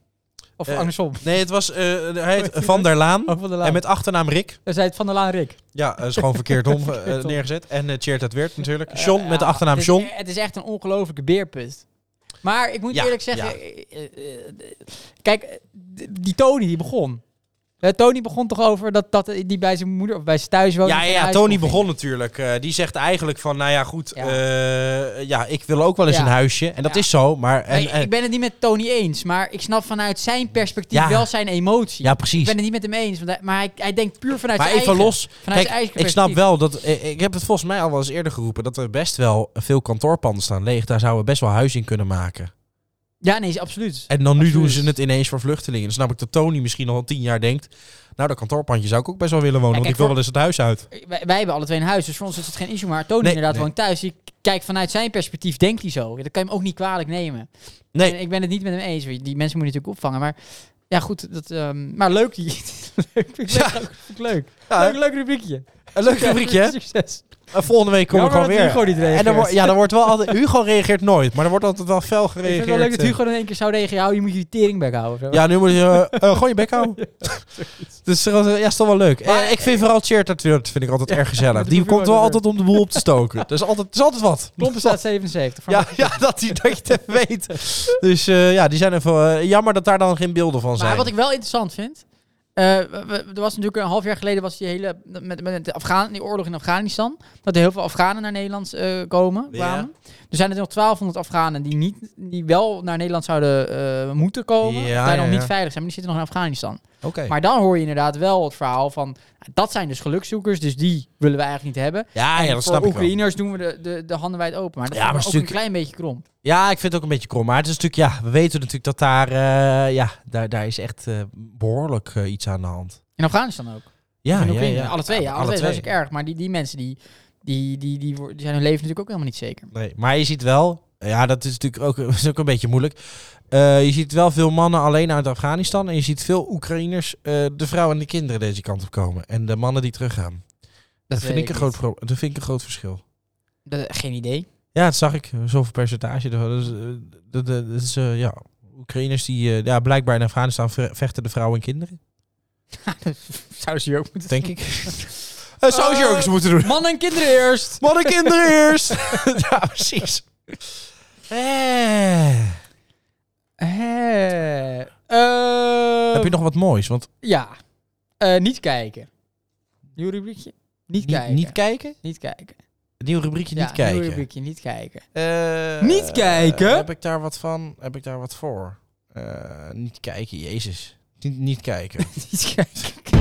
Speaker 1: Of
Speaker 7: Eh,
Speaker 1: andersom.
Speaker 7: Nee, het was... eh, hij heet Van der Laan.
Speaker 1: Oh, Van der Laan.
Speaker 7: En met achternaam Rick.
Speaker 1: Dan zei het Van der Laan Rick.
Speaker 7: Ja, dat is gewoon verkeerd om eh,
Speaker 1: Verkeerd om.
Speaker 7: neergezet. En eh Cheert het Weert natuurlijk. John met de
Speaker 1: Ja,
Speaker 7: achternaam
Speaker 1: het is- e-,
Speaker 7: John.
Speaker 1: Het is echt een ongelofelijke beerput. Maar ik moet
Speaker 7: Ja,
Speaker 1: eerlijk zeggen,
Speaker 7: ja.
Speaker 1: eh, eh, eh, kijk, eh, d- die Tony die begon. Eh, Tony begon toch over dat, dat eh, die bij zijn moeder of bij zijn thuis woonde.
Speaker 7: Ja,
Speaker 1: en
Speaker 7: ja,
Speaker 1: een
Speaker 7: ja,
Speaker 1: huis
Speaker 7: Tony
Speaker 1: kon
Speaker 7: begon natuurlijk. Eh, die zegt eigenlijk van, nou ja, goed.
Speaker 1: Ja.
Speaker 7: Ja, ja ik wil ook wel eens
Speaker 1: Ja.
Speaker 7: een huisje. En dat
Speaker 1: Ja.
Speaker 7: is zo, maar... En, eh,
Speaker 1: Nee, ik ben het niet met Tony eens, maar ik snap vanuit zijn perspectief
Speaker 7: Ja.
Speaker 1: wel zijn emotie.
Speaker 7: ja, precies.
Speaker 1: Ik ben het niet met hem eens, want hij- maar hij, hij denkt puur vanuit
Speaker 7: Maar
Speaker 1: zijn
Speaker 7: even
Speaker 1: eigen,
Speaker 7: los.
Speaker 1: Vanuit
Speaker 7: Kijk,
Speaker 1: zijn eigen
Speaker 7: ik snap
Speaker 1: perspectief.
Speaker 7: wel dat. eh, Ik heb het volgens mij al wel eens eerder geroepen. dat er best wel veel kantoorpanden staan leeg. Daar zouden we best wel huis in kunnen maken.
Speaker 1: Ja, nee, is absoluut.
Speaker 7: En dan nu
Speaker 1: Absoluut.
Speaker 7: doen ze het ineens voor vluchtelingen. Dan snap ik dat Tony misschien al tien jaar denkt. Nou, dat kantoorpandje zou ik ook best wel willen wonen.
Speaker 1: Ja,
Speaker 7: want ik
Speaker 1: kijk,
Speaker 7: wil
Speaker 1: voor-
Speaker 7: wel eens het huis uit.
Speaker 1: Wij, wij hebben alle twee een huis, dus voor ons is het geen issue. Maar Tony
Speaker 7: Nee,
Speaker 1: inderdaad
Speaker 7: nee.
Speaker 1: woont thuis. Ik kijk vanuit zijn perspectief, denkt hij zo. Ja, Dat kan je hem ook niet kwalijk nemen.
Speaker 7: Nee.
Speaker 1: En ik ben het niet met hem eens. want Die mensen moeten natuurlijk opvangen. Maar ja, goed. Dat, ehm, maar leuk. Die, leuk vind ik
Speaker 7: Ja.
Speaker 1: leuk. Vind ik leuk.
Speaker 7: Ja.
Speaker 1: leuk. Leuk rubriekje.
Speaker 7: Een leuk rubriekje, hè?
Speaker 1: Succes.
Speaker 7: En Volgende week kom ik
Speaker 1: Jammer
Speaker 7: gewoon
Speaker 1: dat
Speaker 7: weer.
Speaker 1: Hugo niet
Speaker 7: en
Speaker 1: reageert.
Speaker 7: dan wordt, ja, dan wordt wel altijd. Hugo reageert nooit, maar er wordt altijd wel fel
Speaker 1: ik vind
Speaker 7: gereageerd. eh.
Speaker 1: het wel leuk dat Hugo in één keer zou reageren. "Hou, Je moet je tering bek houden. of zo.
Speaker 7: Ja, nu moet je eh, eh, gewoon je bek houden. dus eh, ja, is toch wel leuk.
Speaker 1: Maar-
Speaker 7: Eh, ik vind vooral Cheert dat dat vind ik altijd erg gezellig.
Speaker 1: dat
Speaker 7: Die
Speaker 1: moet ik
Speaker 7: komt
Speaker 1: wel doen.
Speaker 7: wel altijd om de boel op te stoken. Dat is altijd, dat is altijd wat.
Speaker 1: Klompen staat 77. Voor
Speaker 7: Ja,
Speaker 1: mij.
Speaker 7: ja dat, die, dat je het even weet. Dus eh, ja, die zijn even... eh, jammer dat daar dan geen beelden van zijn.
Speaker 1: Maar wat ik wel interessant vind. eh, we- we- er was natuurlijk een half jaar geleden was die hele met, met de Afghaan, die oorlog in Afghanistan. Dat er heel veel Afghanen naar Nederland eh, komen.
Speaker 7: Ja.
Speaker 1: Kwamen. Er zijn er nog 1200 Afghanen die, niet, die wel naar Nederland zouden eh, moeten komen.
Speaker 7: Ja,
Speaker 1: of daar
Speaker 7: ja,
Speaker 1: nog
Speaker 7: ja.
Speaker 1: niet veilig zijn, maar die zitten nog in Afghanistan.
Speaker 7: Oké.
Speaker 1: Maar dan hoor je inderdaad wel het verhaal van. nou, Dat zijn dus gelukzoekers, dus die willen we eigenlijk niet hebben.
Speaker 7: Ah Ja, ja,
Speaker 1: En
Speaker 7: dat
Speaker 1: voor
Speaker 7: snap ik wel.
Speaker 1: Oekraïners doen we de, de, de handen wijd open. Maar dat
Speaker 7: Ja,
Speaker 1: ja,
Speaker 7: maar
Speaker 1: ook
Speaker 7: stuk-
Speaker 1: een klein beetje krom.
Speaker 7: Ja, ik vind het ook een beetje krom. Maar het is natuurlijk... Ja, we weten natuurlijk dat daar... eh, ja, daar, daar is echt eh, behoorlijk eh, iets aan de hand.
Speaker 1: In Afghanistan ook.
Speaker 7: Ja,
Speaker 1: En
Speaker 7: Ah, ja,
Speaker 1: Oekraïne.
Speaker 7: ja.
Speaker 1: Alle twee, ja. Alle, twee. Dat is
Speaker 7: twee.
Speaker 1: ook erg. Maar die, die mensen, die, die, die, die, wo- die zijn hun leven natuurlijk ook helemaal niet zeker.
Speaker 7: Nee, maar je ziet wel... Ja, dat is natuurlijk ook, is ook een beetje moeilijk. Eh, je ziet wel veel mannen alleen uit Afghanistan. En je ziet veel Oekraïners eh, de vrouwen en de kinderen deze kant op komen. En de mannen die teruggaan.
Speaker 1: weet
Speaker 7: Dat, vind, ik een
Speaker 1: niet.
Speaker 7: groot pro- dat vind ik een groot verschil.
Speaker 1: Dat- geen idee.
Speaker 7: Ja, dat zag ik. Zoveel percentage. ervan. Dus, eh, Dat dat- dat is, eh, ja, Oekraïners die eh, ja, blijkbaar in Afghanistan ve- vechten de vrouwen en kinderen.
Speaker 1: Zou ze hier ook moeten
Speaker 7: Denk ik. Eh, zou je ook eens moeten doen.
Speaker 1: Mannen en kinderen eerst!
Speaker 7: Mannen en kinderen eerst. ja, precies. Eh.
Speaker 1: Hè. Eh,
Speaker 7: Heb je nog wat moois? Want
Speaker 1: Ja. Eh, niet kijken. Nieuw rubriekje? Niet,
Speaker 7: niet,
Speaker 1: kijken.
Speaker 7: niet kijken?
Speaker 1: niet kijken.
Speaker 7: Nieuw rubriekje
Speaker 1: Ja,
Speaker 7: niet kijken.
Speaker 1: Nieuw rubriekje, niet kijken.
Speaker 7: Eh,
Speaker 1: Niet kijken?
Speaker 7: Heb ik daar wat van? Heb ik daar wat voor? Eh, niet kijken, jezus. Niet, niet kijken.
Speaker 1: niet kijken.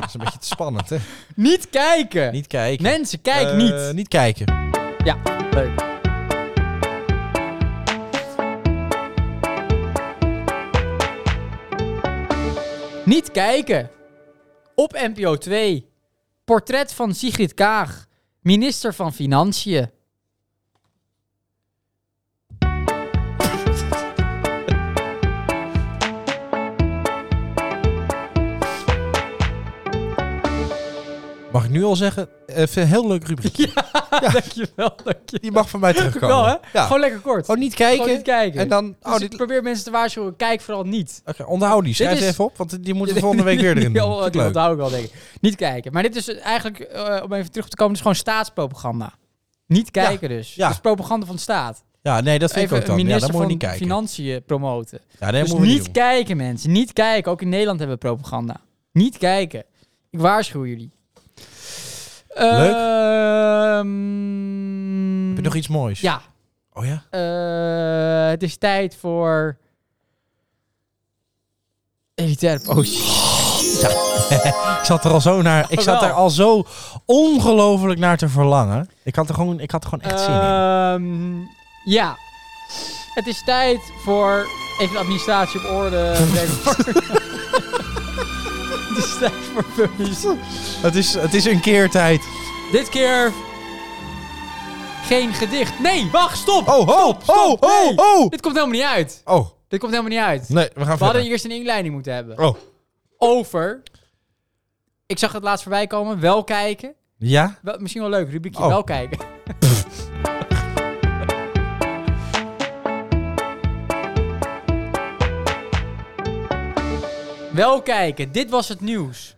Speaker 7: Dat is een beetje te spannend, hè?
Speaker 1: Niet kijken!
Speaker 7: Niet kijken.
Speaker 1: Mensen, kijk
Speaker 7: Eh,
Speaker 1: niet!
Speaker 7: Niet kijken.
Speaker 1: Ja, leuk. Niet kijken. Op NPO 2. Portret van Sigrid Kaag, minister van Financiën.
Speaker 7: Mag ik nu al zeggen? Even een heel leuk rubriek.
Speaker 1: Dankjewel, dankjewel.
Speaker 7: Die mag van mij terugkomen.
Speaker 1: Wel, hè?
Speaker 7: Ja.
Speaker 1: Gewoon lekker kort.
Speaker 7: oh, niet kijken.
Speaker 1: Gewoon niet kijken.
Speaker 7: En dan.
Speaker 1: Dus
Speaker 7: Oh,
Speaker 1: ik
Speaker 7: dit,
Speaker 1: probeer mensen te waarschuwen, kijk vooral niet.
Speaker 7: Oké, onthoud die. Schrijf
Speaker 1: Dit
Speaker 7: ze
Speaker 1: is-
Speaker 7: even op, want die moeten we volgende week weer erin doen.
Speaker 1: Die,
Speaker 7: Vind ik
Speaker 1: die
Speaker 7: leuk.
Speaker 1: onthoud ik wel, denk ik. Niet kijken. Maar dit is eigenlijk, eh, om even terug te komen, is gewoon staatspropaganda. Niet kijken dus.
Speaker 7: ja.
Speaker 1: Dat is propaganda van de staat.
Speaker 7: Ja, nee, dat vind ik ook
Speaker 1: Even een
Speaker 7: dan. Ja,
Speaker 1: minister
Speaker 7: dan moet je
Speaker 1: van
Speaker 7: niet kijken.
Speaker 1: Financiën promoten.
Speaker 7: Ja, nee,
Speaker 1: dus
Speaker 7: moeten we
Speaker 1: niet
Speaker 7: doen.
Speaker 1: kijken, mensen. Niet kijken. Ook in Nederland hebben we propaganda. Niet kijken. Ik waarschuw jullie.
Speaker 7: Leuk.
Speaker 1: Ehm,
Speaker 7: Heb je nog iets moois?
Speaker 1: Ja.
Speaker 7: Oh ja?
Speaker 1: Eh, het is tijd voor... Elitaire pootjes.
Speaker 7: Ik zat er al zo naar. Ik zat
Speaker 1: wel.
Speaker 7: er al zo ongelooflijk naar te verlangen. Ik had er gewoon, ik had er gewoon echt zin in.
Speaker 1: Ehm, ja. Het is tijd voor... Even de administratie op orde. brengen. het is tijd voor puppies.
Speaker 7: Het is, het is een keer tijd.
Speaker 1: Dit keer... Geen gedicht. Nee, wacht, stop!
Speaker 7: Oh, ho,
Speaker 1: Stop, stop,
Speaker 7: ho, ho,
Speaker 1: nee.
Speaker 7: ho.
Speaker 1: Dit komt helemaal niet uit.
Speaker 7: Oh,
Speaker 1: Dit komt helemaal niet uit.
Speaker 7: nee, we gaan
Speaker 1: We hadden
Speaker 7: verder.
Speaker 1: eerst een inleiding moeten hebben.
Speaker 7: Oh,
Speaker 1: Over... Ik zag het laatst voorbij komen. Wel kijken.
Speaker 7: ja?
Speaker 1: Wel, misschien wel leuk, rubriekje
Speaker 7: Oh.
Speaker 1: wel kijken. wel kijken, dit was het nieuws.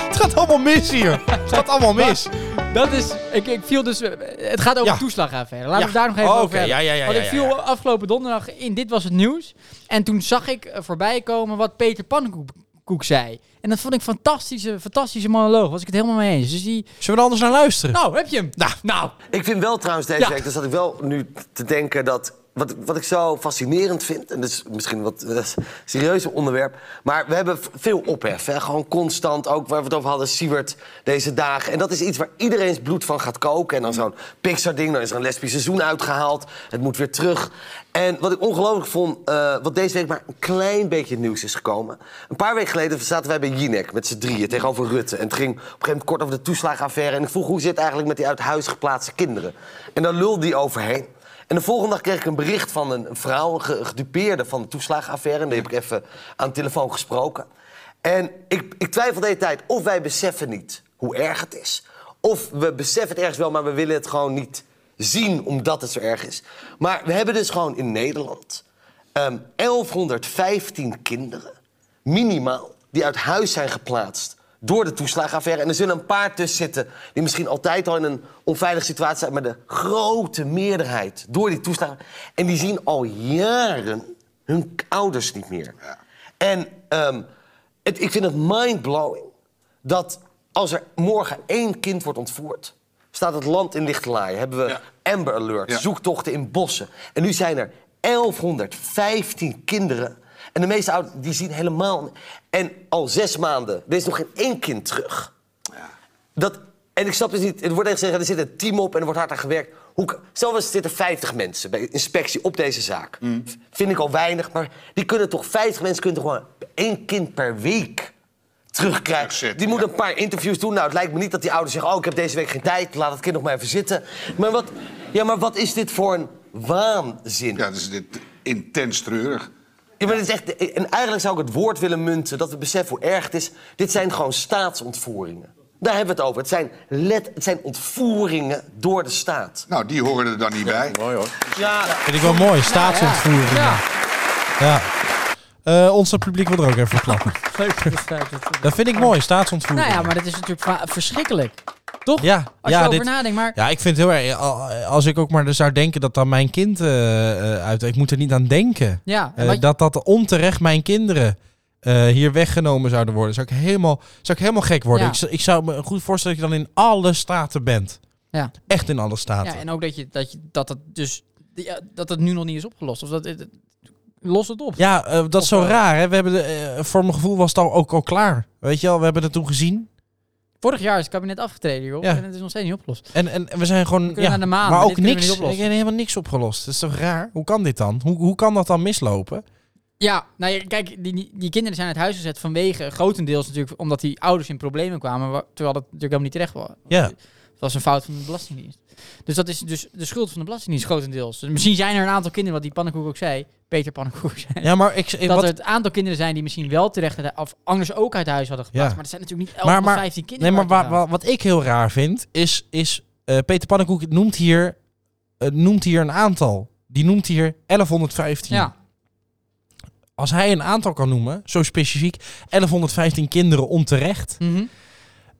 Speaker 7: Het gaat allemaal mis hier. Het gaat allemaal mis.
Speaker 1: Dat is, ik, ik viel dus, eh, het gaat over
Speaker 7: Ja.
Speaker 1: toeslagaffaire. Laten we
Speaker 7: Ja.
Speaker 1: het daar nog even
Speaker 7: Oh, oké.
Speaker 1: over hebben.
Speaker 7: Ja, ja, ja,
Speaker 1: Want
Speaker 7: ja,
Speaker 1: ik
Speaker 7: ja,
Speaker 1: viel afgelopen donderdag in Dit Was Het Nieuws. En toen zag ik eh, voorbij komen wat Peter Pannenkoek Koek zei. En dat vond ik fantastische, fantastische monoloog. Was ik het helemaal mee eens. Dus die,
Speaker 7: Zullen we er anders naar luisteren?
Speaker 1: nou, heb je hem? Nou, nou.
Speaker 8: Ik vind wel trouwens deze
Speaker 1: Ja.
Speaker 8: week, dus dat ik wel nu te denken dat. Wat, wat ik zo fascinerend vind, en dat is misschien een wat eh, serieuzer onderwerp. Maar we hebben v- veel ophef. Hè? Gewoon constant, ook waar we het over hadden, Siewert deze dagen. En dat is iets waar iedereen's bloed van gaat koken. En dan zo'n Pixar-ding, dan is er een lesbisch seizoen uitgehaald. Het moet weer terug. En wat ik ongelooflijk vond, eh, wat deze week maar een klein beetje nieuws is gekomen. Een paar weken geleden zaten wij bij Jinek met z'n drieën tegenover Rutte. En het ging op een gegeven moment kort over de toeslagenaffaire. En ik vroeg hoe zit het eigenlijk met die uit huis geplaatste kinderen. En daar lulde die overheen. En de volgende dag kreeg ik een bericht van een een vrouw, een ge- gedupeerde van de toeslagenaffaire. En die heb ik even aan de telefoon gesproken. En ik, ik twijfel de hele tijd of wij beseffen niet hoe erg het is. Of we beseffen het ergens wel, maar we willen het gewoon niet zien omdat het zo erg is. Maar we hebben dus gewoon in Nederland ehm, 1115 kinderen, minimaal, die uit huis zijn geplaatst door de toeslagenaffaire. En er zullen een paar tussen zitten die misschien altijd al in een onveilige situatie zijn... maar de grote meerderheid door die toeslagen... en die zien al jaren hun k- ouders niet meer. En ehm, het, ik vind het mindblowing dat als er morgen één kind wordt ontvoerd... staat het land in lichte laaien. Hebben we Amber Alert,
Speaker 9: Ja.
Speaker 8: zoektochten in bossen. En nu zijn er 1115 kinderen. En de meeste ouders die zien helemaal... En al zes maanden, er is nog geen één kind terug. Dat, en ik snap dus niet, er wordt echt gezegd, er zit een team op en er wordt hard aan gewerkt. Hoe, kan- zelfs zitten 50 mensen bij inspectie op deze zaak.
Speaker 9: Mm.
Speaker 8: V- Vind ik al weinig, maar die kunnen toch, 50 mensen kunnen toch gewoon één kind per week terugkrijgen.
Speaker 9: Terugzetten,
Speaker 8: die moeten
Speaker 9: ja.
Speaker 8: een paar interviews doen. Nou, het lijkt me niet dat die ouders zeggen, oh, ik heb deze week geen tijd, laat het kind nog maar even zitten. Maar wat, ja, maar wat is dit voor een waanzin?
Speaker 9: Ja, dus dit intens treurig.
Speaker 8: Ja, maar dit is echt, en eigenlijk zou ik het woord willen munten dat we beseffen hoe erg het is. Dit zijn gewoon staatsontvoeringen. Daar hebben we het over. Het zijn, let, het zijn ontvoeringen door de staat.
Speaker 9: Nou, die horen er dan niet bij. Mooi hoor.
Speaker 8: Ja,
Speaker 7: Vind ik wel mooi. Staatsontvoering. Ja. Eh, ons publiek wil er ook even voor klappen.
Speaker 1: Leuk dat het uit het-
Speaker 7: Dat vind ik mooi. Staatsontvoering.
Speaker 1: Nou ja, maar dat is natuurlijk va- verschrikkelijk. Toch?
Speaker 7: Ja,
Speaker 1: Als
Speaker 7: ja,
Speaker 1: je over
Speaker 7: dit-
Speaker 1: nadenkt. Maar
Speaker 7: Ja, ik vind het heel erg. al- Als ik ook maar dus zou denken dat dan mijn kind eh, eh, uit. Ik moet er niet aan denken.
Speaker 1: Ja, en
Speaker 7: Eh,
Speaker 1: wat-
Speaker 7: dat dat onterecht mijn kinderen eh, hier weggenomen zouden worden. Zou ik helemaal, zou ik helemaal gek worden.
Speaker 1: Ja.
Speaker 7: Ik, zou- ik zou me goed voorstellen dat je dan in alle staten bent.
Speaker 1: ja.
Speaker 7: Echt in alle staten.
Speaker 1: ja, en ook dat je dat, je, dat, dat dus ja, dat het nu nog niet is opgelost. Of dat, het- los het op.
Speaker 7: Ja, eh, dat is zo raar. Hè? We hebben de, eh, voor mijn gevoel was het al ook al klaar. Weet je wel, we hebben het toen gezien.
Speaker 1: Vorig jaar is het kabinet afgetreden, joh.
Speaker 7: Ja.
Speaker 1: En het is nog steeds niet opgelost.
Speaker 7: En, en en we zijn gewoon.
Speaker 1: kunnen
Speaker 7: ja,
Speaker 1: naar de maan,
Speaker 7: maar
Speaker 1: maar dit
Speaker 7: ook
Speaker 1: kunnen we
Speaker 7: niks.
Speaker 1: niet oplossen.
Speaker 7: Ik heb helemaal niks opgelost. Dat is toch raar? Hoe kan dit dan? Hoe, hoe kan dat dan mislopen?
Speaker 1: Ja, nou ja, kijk, die, die, die kinderen zijn uit huis gezet vanwege grotendeels natuurlijk omdat die ouders in problemen kwamen. wa- Terwijl dat natuurlijk helemaal niet terecht wa-
Speaker 7: Ja.
Speaker 1: Dat was een fout van de Belastingdienst. Dus dat is dus de schuld van de Belastingdienst grotendeels. Dus misschien zijn er een aantal kinderen, wat die Pannenkoek ook zei, Peter Pannenkoek zei,
Speaker 7: Ja, maar ik, ik-
Speaker 1: dat
Speaker 7: wat,
Speaker 1: er het aantal kinderen zijn die misschien wel terecht uit- of anders ook uit huis hadden geplaatst.
Speaker 7: Ja.
Speaker 1: Maar er zijn natuurlijk niet 11
Speaker 7: maar,
Speaker 1: of
Speaker 7: maar,
Speaker 1: 15
Speaker 7: nee,
Speaker 1: kinderen.
Speaker 7: maar
Speaker 1: waar-
Speaker 7: wa- wa- wat, ik heel raar vind, is, is eh, Peter Pannenkoek noemt hier, eh, noemt hier een aantal. Die noemt hier 1115.
Speaker 1: ja.
Speaker 7: Als hij een aantal kan noemen, zo specifiek, 1115 kinderen onterecht,
Speaker 1: Mhm.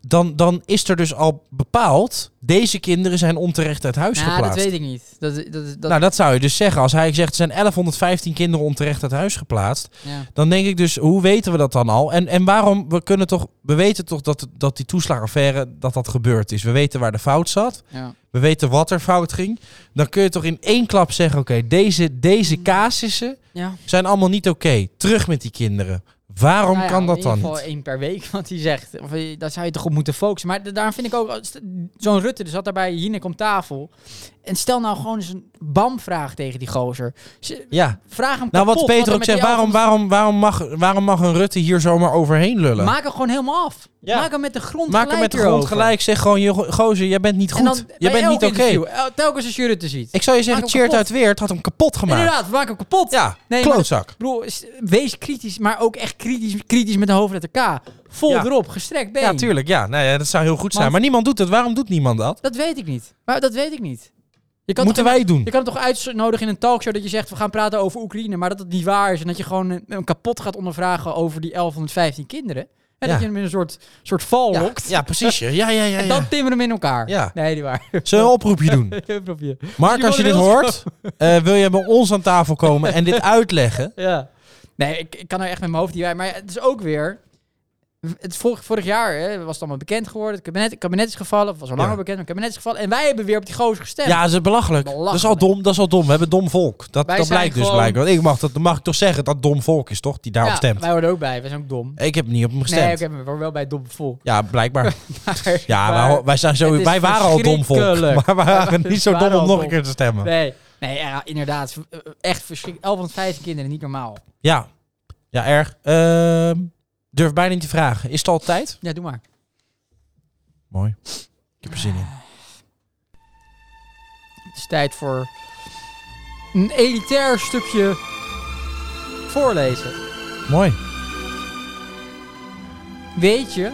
Speaker 7: dan, dan is er dus al bepaald, deze kinderen zijn onterecht uit huis
Speaker 1: Nou, dat
Speaker 7: geplaatst.
Speaker 1: weet ik niet. Dat, dat, dat,
Speaker 7: Nou, dat zou je dus zeggen. Als hij zegt, er zijn 1115 kinderen onterecht uit huis geplaatst,
Speaker 1: ja.
Speaker 7: Dan denk ik dus, hoe weten we dat dan al? En, en waarom, we kunnen toch, we weten toch dat, dat die toeslagaffaire, dat dat gebeurd is. We weten waar de fout zat.
Speaker 1: Ja.
Speaker 7: We weten wat er fout ging. Dan kun je toch in één klap zeggen, oké, deze,
Speaker 1: Mm.
Speaker 7: deze casussen
Speaker 1: Ja.
Speaker 7: zijn allemaal niet oké. Terug met die kinderen. Waarom
Speaker 1: Nou ja,
Speaker 7: kan dat dan
Speaker 1: In ieder
Speaker 7: niet?
Speaker 1: geval één per week, wat hij zegt. Of, eh, daar zou je toch op moeten focussen. Maar da- daarom vind ik ook, als de- zo'n Rutte die zat daar bij Jinek om tafel. En stel nou gewoon eens een bam-vraag tegen die gozer. Ze-
Speaker 7: Ja.
Speaker 1: Vraag hem
Speaker 7: Nou,
Speaker 1: kapot,
Speaker 7: wat Peter
Speaker 1: er
Speaker 7: ook
Speaker 1: met
Speaker 7: zegt,
Speaker 1: die
Speaker 7: waarom,
Speaker 1: elf-
Speaker 7: waarom, waarom, mag, waarom mag een Rutte hier zomaar overheen lullen? Maak,
Speaker 1: Maak hem gewoon helemaal af.
Speaker 7: Ja.
Speaker 1: Maak hem met de grond
Speaker 7: hem
Speaker 1: gelijk
Speaker 7: met de grond
Speaker 1: erover.
Speaker 7: gelijk. Zeg gewoon, joh, gozer, jij bent niet
Speaker 1: En dan
Speaker 7: goed.
Speaker 1: bij
Speaker 7: Jij bent
Speaker 1: elk
Speaker 7: niet oké.
Speaker 1: interview, el- Telkens als je Rutte ziet.
Speaker 7: Ik zou je zeggen,
Speaker 1: Maak hem
Speaker 7: Cheert
Speaker 1: kapot.
Speaker 7: uit Weert had hem kapot gemaakt.
Speaker 1: Inderdaad, maak hem kapot.
Speaker 7: Ja,
Speaker 1: maar
Speaker 7: klootzak.
Speaker 1: dat- Broer, is- wees kritisch, maar ook echt kritisch, kritisch met de hoofdletter K. Vol
Speaker 7: Ja.
Speaker 1: erop, gestrekt been.
Speaker 7: Ja, tuurlijk. Ja, nou ja, dat zou heel goed zijn.
Speaker 1: Want-
Speaker 7: Maar niemand doet het. Waarom doet niemand dat?
Speaker 1: Dat weet ik niet. Maar dat weet ik niet. Je kan
Speaker 7: Moeten
Speaker 1: toch-
Speaker 7: wij doen.
Speaker 1: Je kan het toch uitnodigen in een talkshow dat je zegt... we gaan praten over Oekraïne, maar dat het niet waar is. En dat je gewoon een- hem kapot gaat ondervragen over die 1115 kinderen. En
Speaker 7: Ja.
Speaker 1: dat je hem in een soort, soort val
Speaker 7: Ja,
Speaker 1: lokt.
Speaker 7: ja, precies. Ja, ja, ja. ja,
Speaker 1: En dan timmeren hem in elkaar.
Speaker 7: Ja.
Speaker 1: Nee, niet waar. Dus
Speaker 7: Zullen we een oproepje doen?
Speaker 1: Probeer.
Speaker 7: Mark, als je dit hoort, eh, wil je bij ons aan tafel komen en dit uitleggen?
Speaker 1: Ja. Nee, ik, ik kan er echt met mijn hoofd niet bij. Maar het is ook weer... Het vorig, vorig jaar hè, was het allemaal bekend geworden. Het kabinet, het kabinet is gevallen. Het was al langer
Speaker 7: Ja.
Speaker 1: bekend, maar het kabinet is gevallen. En wij hebben weer op die gozer gestemd.
Speaker 7: Ja, dat is belachelijk. Dat is al
Speaker 1: Belachelijk.
Speaker 7: dom. Dat is al dom. We hebben dom volk. Dat,
Speaker 1: Wij
Speaker 7: dat
Speaker 1: zijn
Speaker 7: blijkt dus
Speaker 1: gewoon-
Speaker 7: blijkbaar. Want ik mag, dat, dan mag ik toch zeggen dat dom volk is, toch? Die daarop
Speaker 1: Ja,
Speaker 7: stemt.
Speaker 1: wij hoorden ook bij. Wij zijn ook dom.
Speaker 7: Ik heb niet op hem gestemd.
Speaker 1: Nee, oké, maar we worden wel bij het domme volk.
Speaker 7: Ja, blijkbaar.
Speaker 1: Maar-
Speaker 7: Ja,
Speaker 1: maar-
Speaker 7: wij, wij, zijn zo,
Speaker 1: het is
Speaker 7: wij waren al dom volk.
Speaker 1: verschrikkelijk.
Speaker 7: Maar we waren niet zo
Speaker 1: We
Speaker 7: dom
Speaker 1: waren
Speaker 7: om
Speaker 1: al
Speaker 7: nog
Speaker 1: dom.
Speaker 7: een keer te stemmen.
Speaker 1: Nee, nee ja, inderdaad. v- eh, Echt verschrikkelijk. 11 van de 15 kinderen, niet normaal.
Speaker 7: Ja. Ja, erg. Ehm, durf bijna niet te vragen. Is het al tijd?
Speaker 1: Ja, doe maar.
Speaker 7: Mooi. Ik heb er zin in.
Speaker 1: Het is tijd voor een elitair stukje voorlezen.
Speaker 7: Mooi.
Speaker 1: Weet je...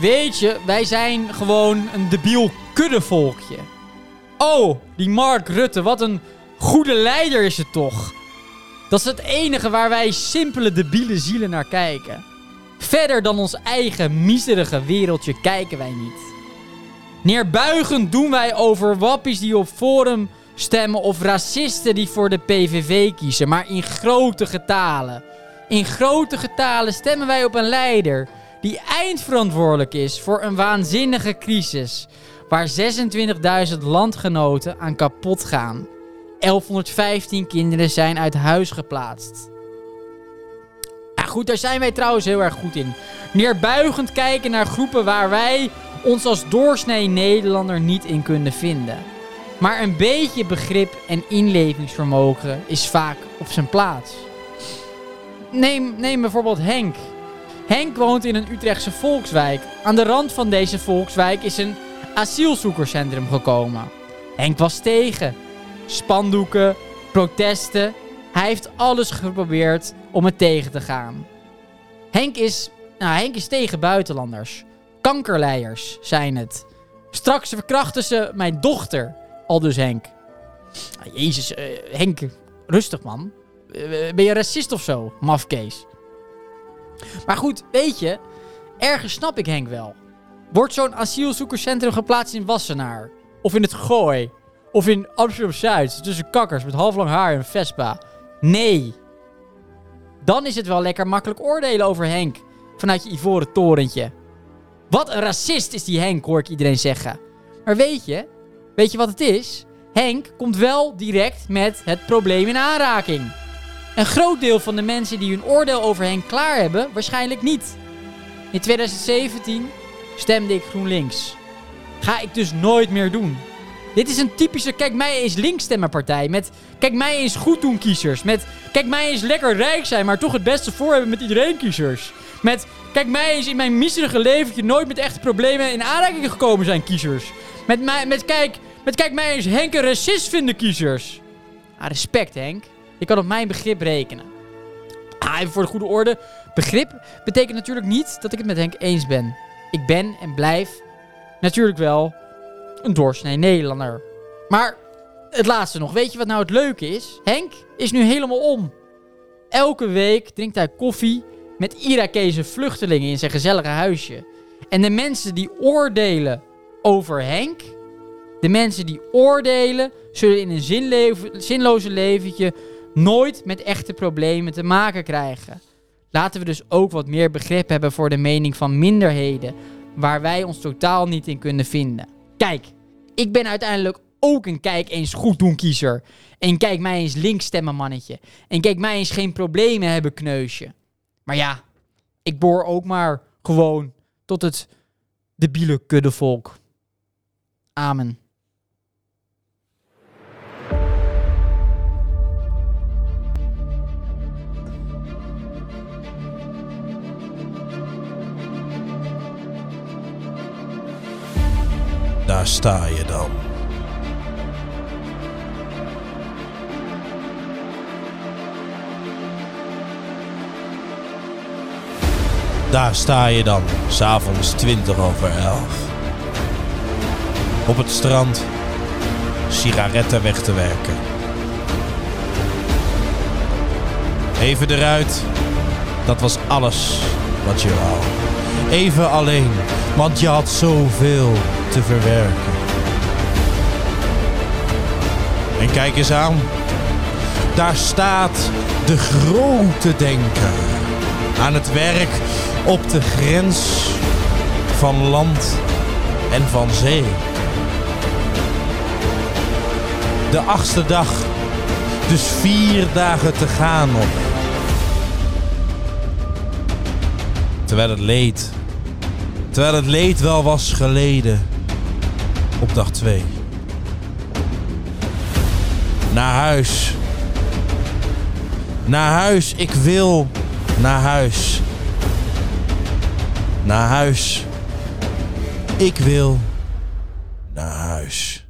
Speaker 1: Weet je, wij zijn gewoon een debiel kuddevolkje. Oh, die Mark Rutte, wat een goede leider is het toch. Dat is het enige waar wij simpele debiele zielen naar kijken. Verder dan ons eigen miserige wereldje kijken wij niet. Neerbuigend doen wij over wappies die op Forum stemmen of racisten die voor de PVV kiezen, maar in grote getalen. In grote getalen stemmen wij op een leider die eindverantwoordelijk is voor een waanzinnige crisis waar 26.000 landgenoten aan kapot gaan. 1115 kinderen zijn uit huis geplaatst. Ja, goed, daar zijn wij trouwens heel erg goed in. Neerbuigend kijken naar groepen waar wij ons als doorsnee Nederlander niet in kunnen vinden. Maar een beetje begrip en inlevingsvermogen is vaak op zijn plaats. Neem, neem bijvoorbeeld Henk. Henk woont in een Utrechtse volkswijk. Aan de rand van deze volkswijk is een asielzoekerscentrum gekomen. Henk was tegen. Spandoeken, protesten. Hij heeft alles geprobeerd om het tegen te gaan. Henk is, nou, Henk is tegen buitenlanders. Kankerleiers zijn het. Straks verkrachten ze mijn dochter. Al dus Henk. Ah, Jezus, eh, Henk, rustig man. Eh, ben je racist of zo, mafkees? Maar goed, weet je, ergens snap ik Henk wel. Wordt zo'n asielzoekerscentrum geplaatst in Wassenaar? Of in het Gooi? Of in Amsterdam-Zuid, tussen kakkers met halflang haar en Vespa? Nee. Dan is het wel lekker makkelijk oordelen over Henk. Vanuit je ivoren torentje. Wat een racist is die Henk, hoor ik iedereen zeggen. Maar weet je, weet je wat het is? Henk komt wel direct met het probleem in aanraking. Een groot deel van de mensen die hun oordeel over Henk klaar hebben, waarschijnlijk niet. In 2017 stemde ik GroenLinks. Ga ik dus nooit meer doen. Dit is een typische kijk mij eens links stemmenpartij. Met kijk mij eens goed doen kiezers. Met kijk mij eens lekker rijk zijn, maar toch het beste voor hebben met iedereen kiezers. Met, kijk, mij is in mijn miserige leventje nooit met echte problemen in aanraking gekomen zijn kiezers. Met, mij, met, kijk, met kijk, mij is Henk een racist vinden kiezers. Ah, respect Henk. Je kan op mijn begrip rekenen. Ah, even voor de goede orde. Begrip betekent natuurlijk niet dat ik het met Henk eens ben. Ik ben en blijf natuurlijk wel een doorsnee Nederlander. Maar het laatste nog. Weet je wat nou het leuke is? Henk is nu helemaal om. Elke week drinkt hij koffie met Irakese vluchtelingen in zijn gezellige huisje. En de mensen die oordelen over Henk, de mensen die oordelen, zullen in een zinlev- zinloze leventje nooit met echte problemen te maken krijgen. Laten we dus ook wat meer begrip hebben voor de mening van minderheden, waar wij ons totaal niet in kunnen vinden. Kijk, ik ben uiteindelijk ook een kijk eens goed doen kiezer. En kijk mij eens links stemmen mannetje. En kijk mij eens geen problemen hebben kneusje. Maar ja, ik boor ook maar gewoon tot het debiele kuddevolk. Amen.
Speaker 2: Daar sta je dan. Daar sta je dan, s'avonds 20 over 11. Op het strand, sigaretten weg te werken. Even eruit, dat was alles wat je wou. Even alleen, want je had zoveel te verwerken. En kijk eens aan, daar staat de grote denker aan het werk op de grens van land en van zee. De achtste dag, dus vier dagen te gaan op. Terwijl het leed, terwijl het leed wel was geleden op dag twee. Naar huis. Naar huis, ik wil naar huis. Naar huis. Ik wil naar huis.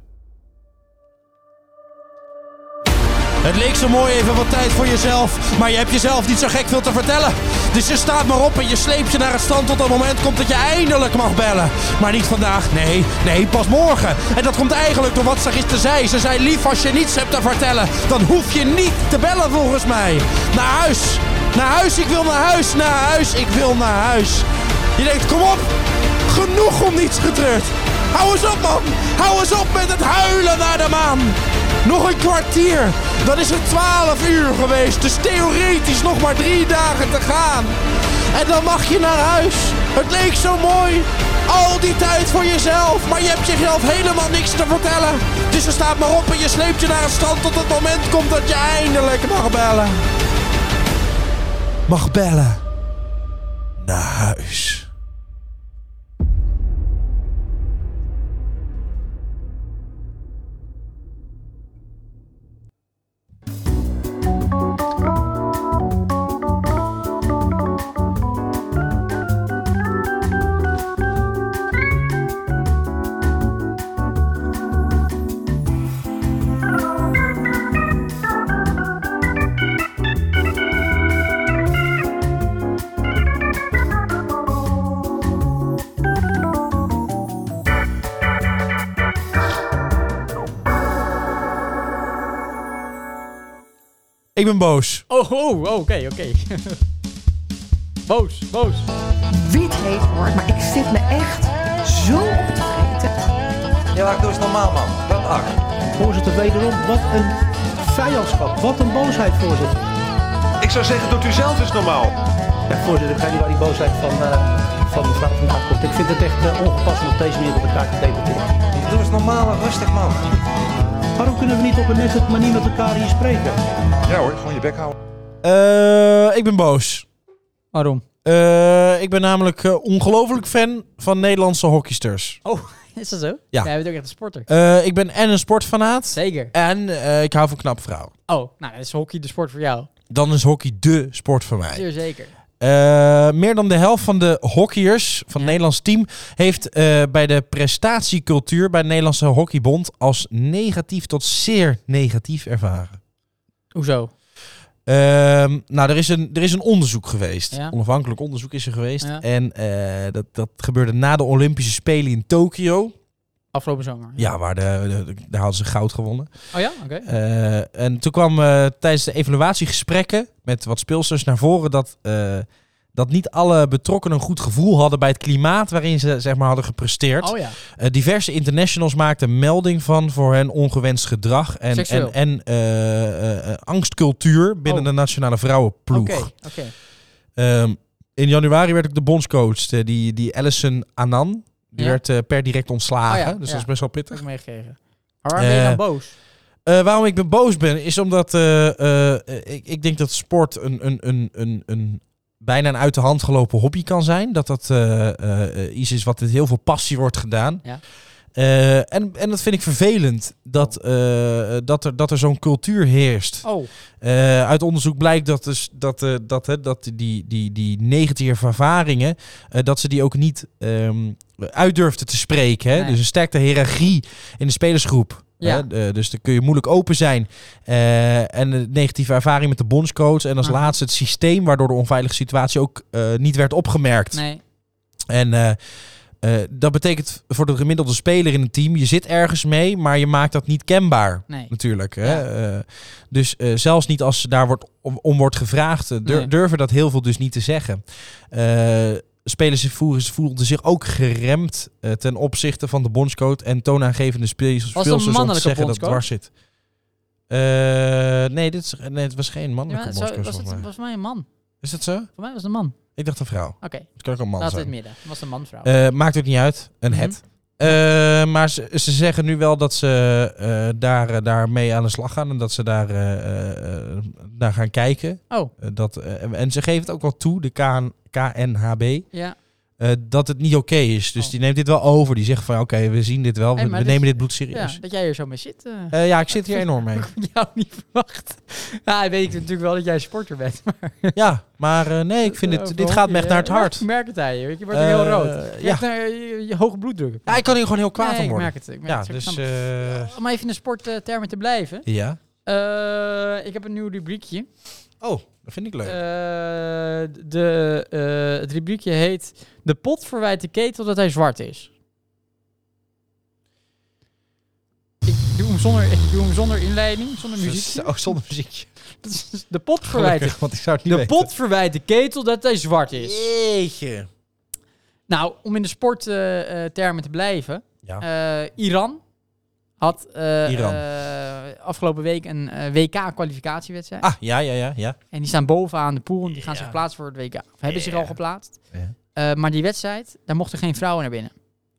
Speaker 2: Het leek zo mooi even wat tijd voor jezelf, maar je hebt jezelf niet zo gek veel te vertellen. Dus je staat maar op en je sleept je naar het strand tot het moment komt dat je eindelijk mag bellen. Maar niet vandaag, nee, nee, pas morgen. En dat komt eigenlijk door wat ze gisteren zei. Ze zei lief als je niets hebt te vertellen, dan hoef je niet te bellen volgens mij. Naar huis, naar huis, ik wil naar huis, naar huis, ik wil naar huis. Je denkt, kom op, genoeg om niets getreurd. Hou eens op man, hou eens op met het huilen naar de maan. Nog een kwartier, dan is het 12 uur geweest. Dus theoretisch nog maar drie dagen te gaan. En dan mag je naar huis. Het leek zo mooi. Al die tijd voor jezelf, maar je hebt jezelf helemaal niks te vertellen. Dus je staat maar op en je sleept je naar het strand tot het moment komt dat je eindelijk mag bellen. Mag bellen. Naar huis. Ik ben boos.
Speaker 1: Oh, oh, oh, oké, oké. boos, boos.
Speaker 10: wie het heeft hoor, maar ik zit me echt zo op te vreten.
Speaker 5: Voorzitter, wederom, wat een vijandschap. Wat een boosheid, voorzitter.
Speaker 11: Ik zou zeggen, doet u zelf eens normaal.
Speaker 5: Ja, voorzitter, ik ga niet waar die boosheid van, eh van mevrouw vandaan komt. Ik vind het echt eh, ongepast om op deze manier met elkaar te debatteren.
Speaker 12: Doe eens normaal en rustig, man.
Speaker 5: Waarom kunnen we niet op een nette manier met elkaar hier spreken?
Speaker 11: Ja hoor, gewoon je bek houden.
Speaker 2: Eh, ik ben boos.
Speaker 1: Waarom?
Speaker 2: Eh, ik ben namelijk eh, ongelooflijk fan van Nederlandse hockeysters.
Speaker 1: Oh, is dat zo?
Speaker 2: Ja.
Speaker 1: Jij bent ook echt een sporter.
Speaker 2: Eh, ik ben en een sportfanaat.
Speaker 1: Zeker.
Speaker 2: En eh, ik hou van knap vrouw.
Speaker 1: Oh, nou, dan is hockey de sport voor jou.
Speaker 2: Dan is hockey dé sport voor mij.
Speaker 1: Zeer zeker.
Speaker 7: Eh, meer dan de helft van de hockeyers van het Nederlands team heeft eh, bij de prestatiecultuur bij de Nederlandse Hockeybond als negatief tot zeer negatief ervaren.
Speaker 1: Hoezo?
Speaker 7: Ehm, nou, er is, een, er is een onderzoek geweest.
Speaker 1: Ja.
Speaker 7: Onafhankelijk onderzoek is er geweest.
Speaker 1: Ja.
Speaker 7: En eh, dat, dat gebeurde na de Olympische Spelen in Tokio.
Speaker 1: Afgelopen zomer.
Speaker 7: Ja, waar de, de- daar hadden ze goud gewonnen.
Speaker 1: Oh ja? Oké.
Speaker 7: Eh, en toen kwam eh, tijdens de evaluatiegesprekken met wat speelsters naar voren dat, eh, dat niet alle betrokkenen een goed gevoel hadden bij het klimaat waarin ze zeg maar, hadden gepresteerd.
Speaker 1: Oh ja.
Speaker 7: Eh, diverse internationals maakten melding van voor hen ongewenst gedrag en,
Speaker 1: Seksueel.
Speaker 7: en, en eh, eh, eh, angstcultuur binnen
Speaker 1: Oh.
Speaker 7: de nationale vrouwenploeg.
Speaker 1: Oké. Oké.
Speaker 7: Ehm, in januari werd ook de bondscoach, eh, die, die Allison Anan, die
Speaker 1: Ja.
Speaker 7: werd eh, per direct ontslagen.
Speaker 1: Oh ja,
Speaker 7: dus
Speaker 1: ja.
Speaker 7: dat is best wel
Speaker 1: Dat heb
Speaker 7: pittig.
Speaker 1: ik meegekregen. Maar waarom ben je
Speaker 7: Eh,
Speaker 1: dan boos?
Speaker 7: Eh, waarom ik ben boos ben, is omdat eh, eh, eh, ik, ik denk dat sport een, een, een, een, een bijna een uit de hand gelopen hobby kan zijn. Dat dat eh, eh, eh, iets is wat met heel veel passie wordt gedaan.
Speaker 1: Ja.
Speaker 7: Eh, en, en dat vind ik vervelend, dat, eh, dat er, dat er zo'n cultuur heerst.
Speaker 1: Oh.
Speaker 7: Eh, uit onderzoek blijkt dat, dus, dat, eh, dat, hè, dat die, die, die negatieve ervaringen, eh, dat ze die ook niet ehm, uit durfden te spreken. Hè?
Speaker 1: Nee.
Speaker 7: Dus een sterkte hiërarchie in de spelersgroep.
Speaker 1: Ja.
Speaker 7: Hè? Eh, dus dan kun je moeilijk open zijn. Eh, en de negatieve ervaring met de bondscoach. En als
Speaker 1: Ah.
Speaker 7: laatste het systeem waardoor de onveilige situatie ook eh, niet werd opgemerkt.
Speaker 1: Nee.
Speaker 7: En eh, eh, dat betekent voor de gemiddelde speler in een team, je zit ergens mee, maar je maakt dat niet kenbaar.
Speaker 1: Nee.
Speaker 7: Natuurlijk. Hè? Eh, dus eh, zelfs niet als daar wordt, om, om wordt gevraagd, eh, dur-
Speaker 1: Nee.
Speaker 7: durven dat heel veel dus niet te zeggen. Eh, spelers en voerders voelden zich ook geremd eh, ten opzichte van de bondscoach en toonaangevende spelers
Speaker 1: een
Speaker 7: speelsters om te
Speaker 1: mannelijke
Speaker 7: zeggen dat het
Speaker 1: bondscoach?
Speaker 7: dwars zit. Eh, nee, dit is, nee, het was geen
Speaker 1: Ja,
Speaker 7: mannelijke
Speaker 1: het zou-
Speaker 7: bondscoach.
Speaker 1: was,
Speaker 7: volgens
Speaker 1: het,
Speaker 7: mij.
Speaker 1: was mij een man.
Speaker 7: Is dat zo?
Speaker 1: Voor mij was het een man.
Speaker 7: Ik dacht een vrouw.
Speaker 1: Oké.
Speaker 7: Het kan ook een man
Speaker 1: Laten we
Speaker 7: zijn.
Speaker 1: het midden. Het was een man-vrouw.
Speaker 7: Eh, maakt ook niet uit. Een
Speaker 1: Mhm.
Speaker 7: het. Eh, maar ze, ze zeggen nu wel dat ze eh daar, eh, daarmee aan de slag gaan. En dat ze daar eh, eh, naar gaan kijken.
Speaker 1: oh.
Speaker 7: Eh, dat, eh, en ze geven het ook wel toe, de KN, KNHB.
Speaker 1: Ja.
Speaker 7: eh, dat het niet oké is. Dus
Speaker 1: Oh.
Speaker 7: die neemt dit wel over. Die zegt van oké, we zien dit wel.
Speaker 1: Hey,
Speaker 7: we
Speaker 1: maar
Speaker 7: we
Speaker 1: dit-
Speaker 7: nemen dit bloed
Speaker 1: ja.
Speaker 7: serieus. Ja,
Speaker 1: Dat jij hier zo mee zit. eh
Speaker 7: ja, ik zit hier enorm mee.
Speaker 1: Ik jou niet verwacht. Ja, ik weet natuurlijk wel dat jij sporter bent. Maar
Speaker 7: Ja, maar eh, nee, ik vind
Speaker 1: eh,
Speaker 7: dit,
Speaker 1: over
Speaker 7: dit
Speaker 1: hockey,
Speaker 7: gaat me echt
Speaker 1: eh,
Speaker 7: naar het
Speaker 1: ja,
Speaker 7: hart.
Speaker 1: ik merk het aan je. Je wordt
Speaker 7: Eh,
Speaker 1: heel rood. Je
Speaker 7: ja.
Speaker 1: hebt, eh, je, je hoge bloeddruk.
Speaker 7: Ja, ik kan hier gewoon heel kwaad
Speaker 1: Nee,
Speaker 7: van
Speaker 1: ik
Speaker 7: worden.
Speaker 1: merk het. Ik merk
Speaker 7: ja,
Speaker 1: het. Ik
Speaker 7: dus...
Speaker 1: snap het.
Speaker 7: eh,
Speaker 1: Om even in de sporttermen te blijven.
Speaker 7: ja.
Speaker 1: Eh, ik heb een nieuw rubriekje.
Speaker 7: Oh, dat vind ik leuk.
Speaker 1: Eh, de, eh, het rubriekje heet... De pot verwijt de ketel dat hij zwart is. Ik doe hem zonder, ik doe hem zonder inleiding, zonder muziek. Dus,
Speaker 7: Oh, zonder muziekje.
Speaker 1: De pot verwijt de,
Speaker 7: Gelukkig, want ik zou het niet
Speaker 1: de pot verwijt de ketel dat hij zwart is.
Speaker 7: Jeetje.
Speaker 1: Nou, om in de sporttermen termen te blijven.
Speaker 7: Ja.
Speaker 1: eh, Iran had eh,
Speaker 7: Iran.
Speaker 1: eh, afgelopen week een WK-kwalificatiewedstrijd.
Speaker 7: Ah, ja, ja, ja. ja.
Speaker 1: En die staan bovenaan de pool en die gaan
Speaker 7: Ja.
Speaker 1: zich plaatsen voor het WK. Of hebben zich al geplaatst.
Speaker 7: Ja.
Speaker 1: Eh, maar die wedstrijd, daar mochten geen vrouwen naar binnen.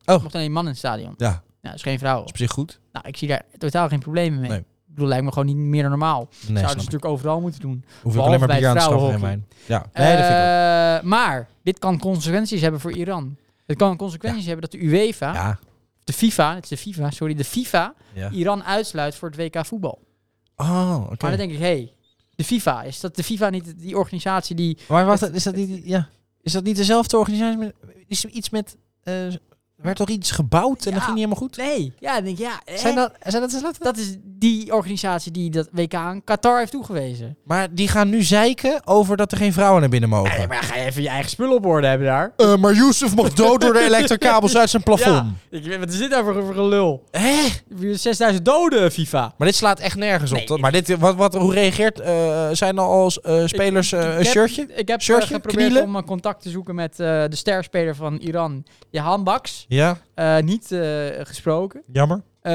Speaker 7: Oh.
Speaker 1: Er mochten alleen mannen in het stadion.
Speaker 7: Ja, dat
Speaker 1: Nou, dus geen vrouwen.
Speaker 7: is op zich goed.
Speaker 1: Nou, ik zie daar totaal geen problemen mee.
Speaker 7: Nee.
Speaker 1: Ik bedoel, lijkt me gewoon niet meer dan normaal.
Speaker 7: Nee,
Speaker 1: Zouden ze
Speaker 7: snap ik.
Speaker 1: natuurlijk overal moeten doen.
Speaker 7: Hoef ik alleen maar
Speaker 1: bij
Speaker 7: bier aan te schaffen en
Speaker 1: vrouwenhockey.
Speaker 7: wijn. Ja, nee, dat vind ik ook.
Speaker 1: Eh, Maar dit kan consequenties hebben voor Iran. Het kan consequenties hebben dat de UEFA,
Speaker 7: Ja,
Speaker 1: de FIFA, het is de FIFA, sorry, de FIFA
Speaker 7: ja.
Speaker 1: Iran uitsluit voor het WK voetbal.
Speaker 7: Oh, oké.
Speaker 1: Maar dan denk ik, hé, hey, de FIFA, is dat de FIFA niet die organisatie die...
Speaker 7: Maar wacht, is dat niet, ja. is dat niet dezelfde organisatie? met- Is er iets met... eh, werd toch iets gebouwd
Speaker 1: Ja.
Speaker 7: en dat ging niet helemaal goed?
Speaker 1: Nee, ja, dan denk ik, ja, hè?
Speaker 7: Zijn dat, zijn dat dezelfde?
Speaker 1: dat is die organisatie die dat WK aan Qatar heeft toegewezen.
Speaker 7: Maar die gaan nu zeiken over dat er geen vrouwen naar binnen mogen.
Speaker 1: Nee, maar ga je even je eigen spullen op orde hebben daar?
Speaker 7: Eh, maar Yusuf mag dood door de elektrokabels uit zijn plafond.
Speaker 1: Ja, ik, weet- wat is dit nou voor, voor een lul?
Speaker 7: Hè?
Speaker 1: Weer 6000 doden, FIFA.
Speaker 7: Maar dit slaat echt nergens op. toch? Maar dit, wat, wat, hoe reageert... eh, zijn er al eh, spelers eh, een
Speaker 1: Ik heb-
Speaker 7: shirtje?
Speaker 1: Ik heb eh,
Speaker 7: Shirtje?
Speaker 1: geprobeerd
Speaker 7: Knielen?
Speaker 1: om eh, contact te zoeken met eh, de sterspeler van Iran, Jahan Baks.
Speaker 7: Ja,
Speaker 1: Eh, niet eh, gesproken.
Speaker 7: jammer.
Speaker 1: Eh,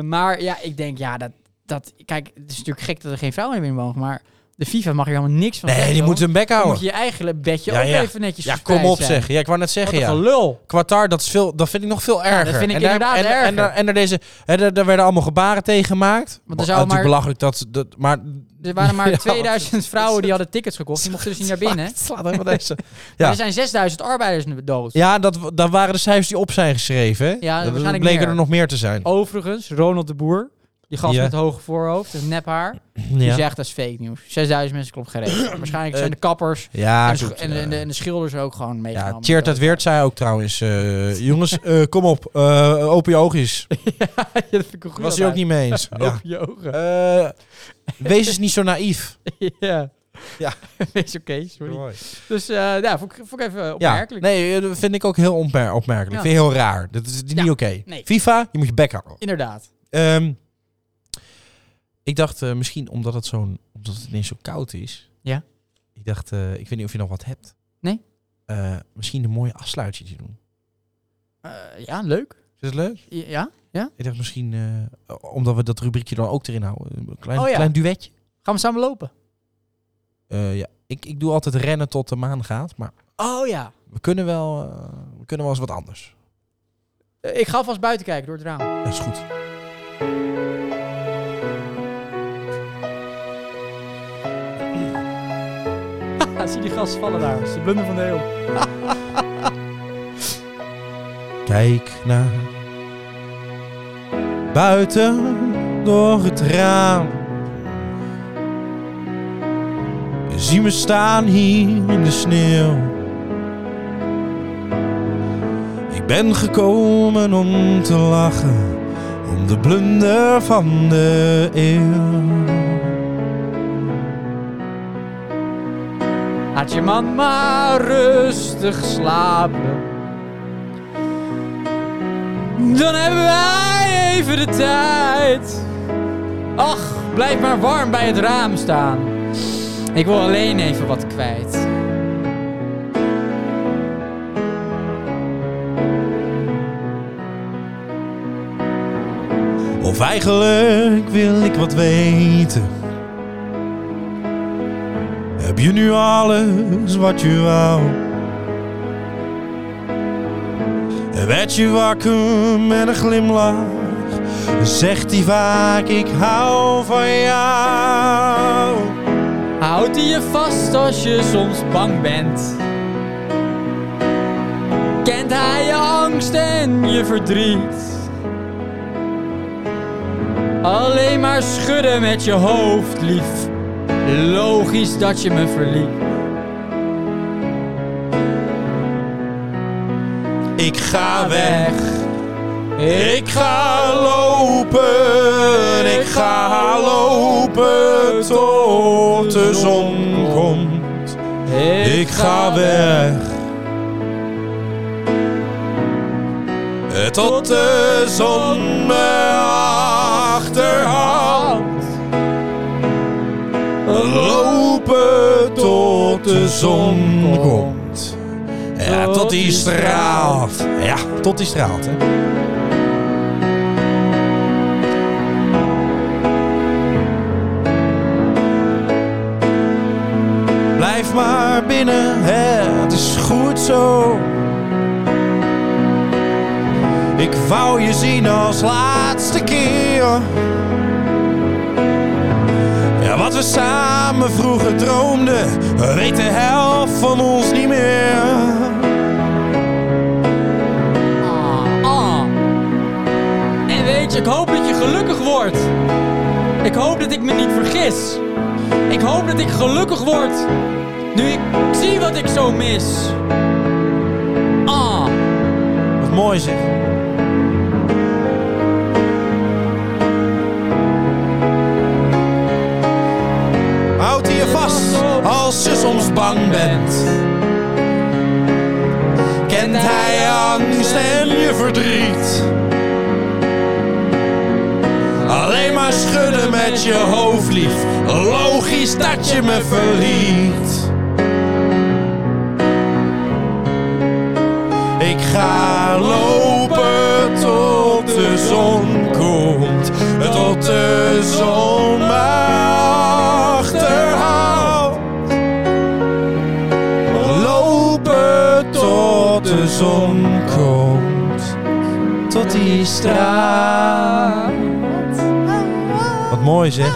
Speaker 1: maar ja, ik denk, ja, dat, dat... Kijk, het is natuurlijk gek dat er geen vrouwen meer mogen, maar de FIFA mag er helemaal niks van
Speaker 7: Nee,
Speaker 1: zeggen,
Speaker 7: die
Speaker 1: hoor.
Speaker 7: moeten hun bek
Speaker 1: Dan moet
Speaker 7: houden.
Speaker 1: je je eigen bedje
Speaker 7: Ja,
Speaker 1: ook
Speaker 7: ja.
Speaker 1: even netjes
Speaker 7: Ja,
Speaker 1: verspreid
Speaker 7: kom op
Speaker 1: zijn.
Speaker 7: zeg. Ja, ik wou net
Speaker 1: Wat
Speaker 7: zeggen,
Speaker 1: een
Speaker 7: ja.
Speaker 1: gelul.
Speaker 7: Qatar, dat, is veel, dat vind ik nog veel erger.
Speaker 1: vind ik
Speaker 7: en daar,
Speaker 1: inderdaad
Speaker 7: en, en
Speaker 1: erger.
Speaker 7: daar- en daar deze, en daar, daar werden allemaal gebaren tegen gemaakt.
Speaker 1: er
Speaker 7: Bo-
Speaker 1: zouden
Speaker 7: natuurlijk
Speaker 1: maar-
Speaker 7: belachelijk dat... dat maar
Speaker 1: Er waren maar
Speaker 7: Ja, wat-
Speaker 1: 2000 vrouwen die hadden tickets gekocht. Die mochten dus niet naar binnen.
Speaker 7: Het slaat helemaal deze.
Speaker 1: Maar
Speaker 7: Ja.
Speaker 1: er zijn 6000 arbeiders nu dood.
Speaker 7: Ja, dat, dat waren de cijfers die op zijn geschreven. Hè?
Speaker 1: Ja,
Speaker 7: dat
Speaker 1: waarschijnlijk
Speaker 7: bleken
Speaker 1: meer. Oh.
Speaker 7: er nog meer te zijn.
Speaker 1: Overigens, Ronald de Boer, Die gast
Speaker 7: Ja.
Speaker 1: met het hoge voorhoofd, het nephaar. Die
Speaker 7: Ja, Eh,
Speaker 1: zegt dat is fake nieuws. 6000 mensen klopt geregeld. Waarschijnlijk zijn de kappers
Speaker 7: ja,
Speaker 1: en, de, sch-
Speaker 7: goed,
Speaker 1: en, de,
Speaker 7: eh.
Speaker 1: en, de, en de schilders ook gewoon meegenomen.
Speaker 7: Ja, Tjeerd uit Weert zei ook trouwens... eh, jongens, eh, kom op. eh, open je oogjes.
Speaker 1: Ja, dat vind ik een goede
Speaker 7: Was hij ook niet mee eens. Ja.
Speaker 1: Op je ogen.
Speaker 7: Eh, wees eens niet zo naïef.
Speaker 1: ja.
Speaker 7: Ja.
Speaker 1: Wees oké, sorry. Dus eh ja, vond ik, vond ik even
Speaker 7: Ja,
Speaker 1: opmerkelijk.
Speaker 7: nee, eh, dat vind ik ook heel onper- opmerkelijk.
Speaker 1: Ja.
Speaker 7: Vind ik heel raar. Dat is niet
Speaker 1: Ja,
Speaker 7: oké.
Speaker 1: nee.
Speaker 7: FIFA, je moet je bek houden.
Speaker 1: Inderdaad.
Speaker 7: Ehm, ik dacht eh, misschien omdat het, zo'n, omdat het ineens zo koud is.
Speaker 1: Ja.
Speaker 7: Ik dacht, eh, ik weet niet of je nog wat hebt.
Speaker 1: Nee.
Speaker 7: Eh, misschien een mooie afsluitje te doen.
Speaker 1: Eh, ja, leuk.
Speaker 7: Is dat leuk?
Speaker 1: Ja?
Speaker 7: Ik dacht misschien, eh, omdat we dat rubriekje dan ook erin houden. Een klein,
Speaker 1: Oh ja.
Speaker 7: klein duetje.
Speaker 1: Gaan we samen lopen?
Speaker 7: Eh, ja. ik, ik doe altijd rennen tot de maan gaat. Maar
Speaker 1: Oh ja.
Speaker 7: we kunnen wel, eh, we kunnen wel eens wat anders.
Speaker 1: Eh, ik ga alvast buiten kijken door het raam.
Speaker 7: Dat is goed.
Speaker 1: Ja, zie die gasten vallen daar. Ze blunder van de heel.
Speaker 7: Kijk naar buiten door het raam. Zie me staan hier in de sneeuw. Ik ben gekomen om te lachen, om de blunder van de eeuw.
Speaker 1: Laat je man maar rustig slapen. Dan hebben wij even de tijd. Ach, blijf maar warm bij het raam staan. Ik wil alleen even wat kwijt.
Speaker 7: Of eigenlijk wil ik wat weten. Heb je nu alles wat je wou? En Werd je wakker met een glimlach? Zegt hij vaak: Ik hou van jou.
Speaker 1: Houd die je vast als je soms bang bent. Kent hij je angst en je verdriet? Alleen maar schudden met je hoofd, lief. Logisch dat je me verliet.
Speaker 7: Ik ga weg, ik ga lopen, ik ga lopen tot de zon komt. Ik ga weg. Tot de zon me achterhaalt. Lopen tot de zon komt. Ja, tot die straalt. Ja, tot die straalt. Hè. Blijf maar binnen, hè, het is goed zo. Ik wou je zien als laatste keer. Ja, wat we samen vroeger droomden, weet de helft van ons niet meer.
Speaker 1: Ah, ah. En weet je, ik hoop dat je gelukkig wordt. Ik hoop dat ik me niet vergis. Ik hoop dat ik gelukkig word. Nu ik zie wat ik zo mis. Ah,
Speaker 7: Wat mooi zeg. Houd hier vast als je soms bang bent. Kent hij je angst en je verdriet? Alleen maar schudden met je hoofd, lief. Logisch dat je me verliet. Ik ga lopen tot de zon komt, tot de zon me achterhaalt. Lopen tot de zon komt, tot die straat. Wat mooi zeg.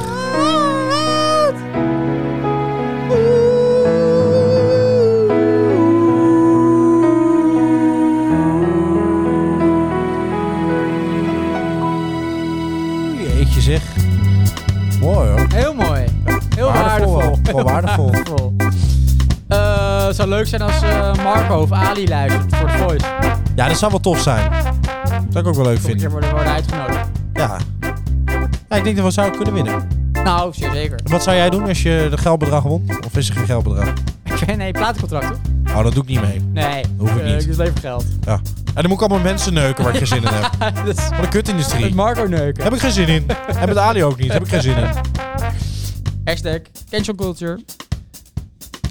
Speaker 7: Jeetje zeg. gewoon waardevol.
Speaker 1: Cool. Eh, het zou leuk zijn als eh, Marco of Ali luistert voor de voice.
Speaker 7: Ja, dat zou wel tof zijn. Zou ik ook wel leuk
Speaker 1: Volgende keer
Speaker 7: vinden.
Speaker 1: worden, worden uitgenodigd.
Speaker 7: Ja. ja. Ik denk dat we zouden kunnen winnen.
Speaker 1: Nou, zeer zeker.
Speaker 7: Wat zou jij doen als je de geldbedrag won? Of is er geen geldbedrag?
Speaker 1: Nee, platencontract hoor.
Speaker 7: Oh, dat doe ik niet mee.
Speaker 1: Nee,
Speaker 7: Hoef ik
Speaker 1: eh,
Speaker 7: niet.
Speaker 1: Het is alleen voor geld.
Speaker 7: Ja. En dan moet ik allemaal mensen neuken waar ik geen zin in heb.
Speaker 1: dat is
Speaker 7: Wat een
Speaker 1: met
Speaker 7: kutindustrie.
Speaker 1: Marco neuken.
Speaker 7: Heb ik geen zin in. Heb het Ali ook niet. Heb ik geen zin in.
Speaker 1: Hashtag cancel culture.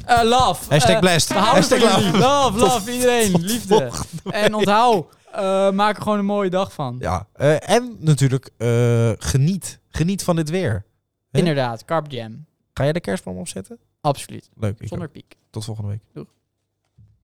Speaker 1: Eh, love.
Speaker 7: Hashtag
Speaker 1: Eh,
Speaker 7: blessed.
Speaker 1: we houden
Speaker 7: Hashtag
Speaker 1: van jullie. Love,
Speaker 7: love.
Speaker 1: love, iedereen. Liefde. En onthoud, eh, maak er gewoon een mooie dag van.
Speaker 7: Ja. eh, en natuurlijk eh, geniet. Geniet van dit weer.
Speaker 1: Inderdaad, Carp Jam.
Speaker 7: Ga jij de kerstboom opzetten?
Speaker 1: Absoluut.
Speaker 7: Leuk. Ik
Speaker 1: Zonder
Speaker 7: ook.
Speaker 1: piek.
Speaker 7: Tot volgende week.
Speaker 1: Doeg.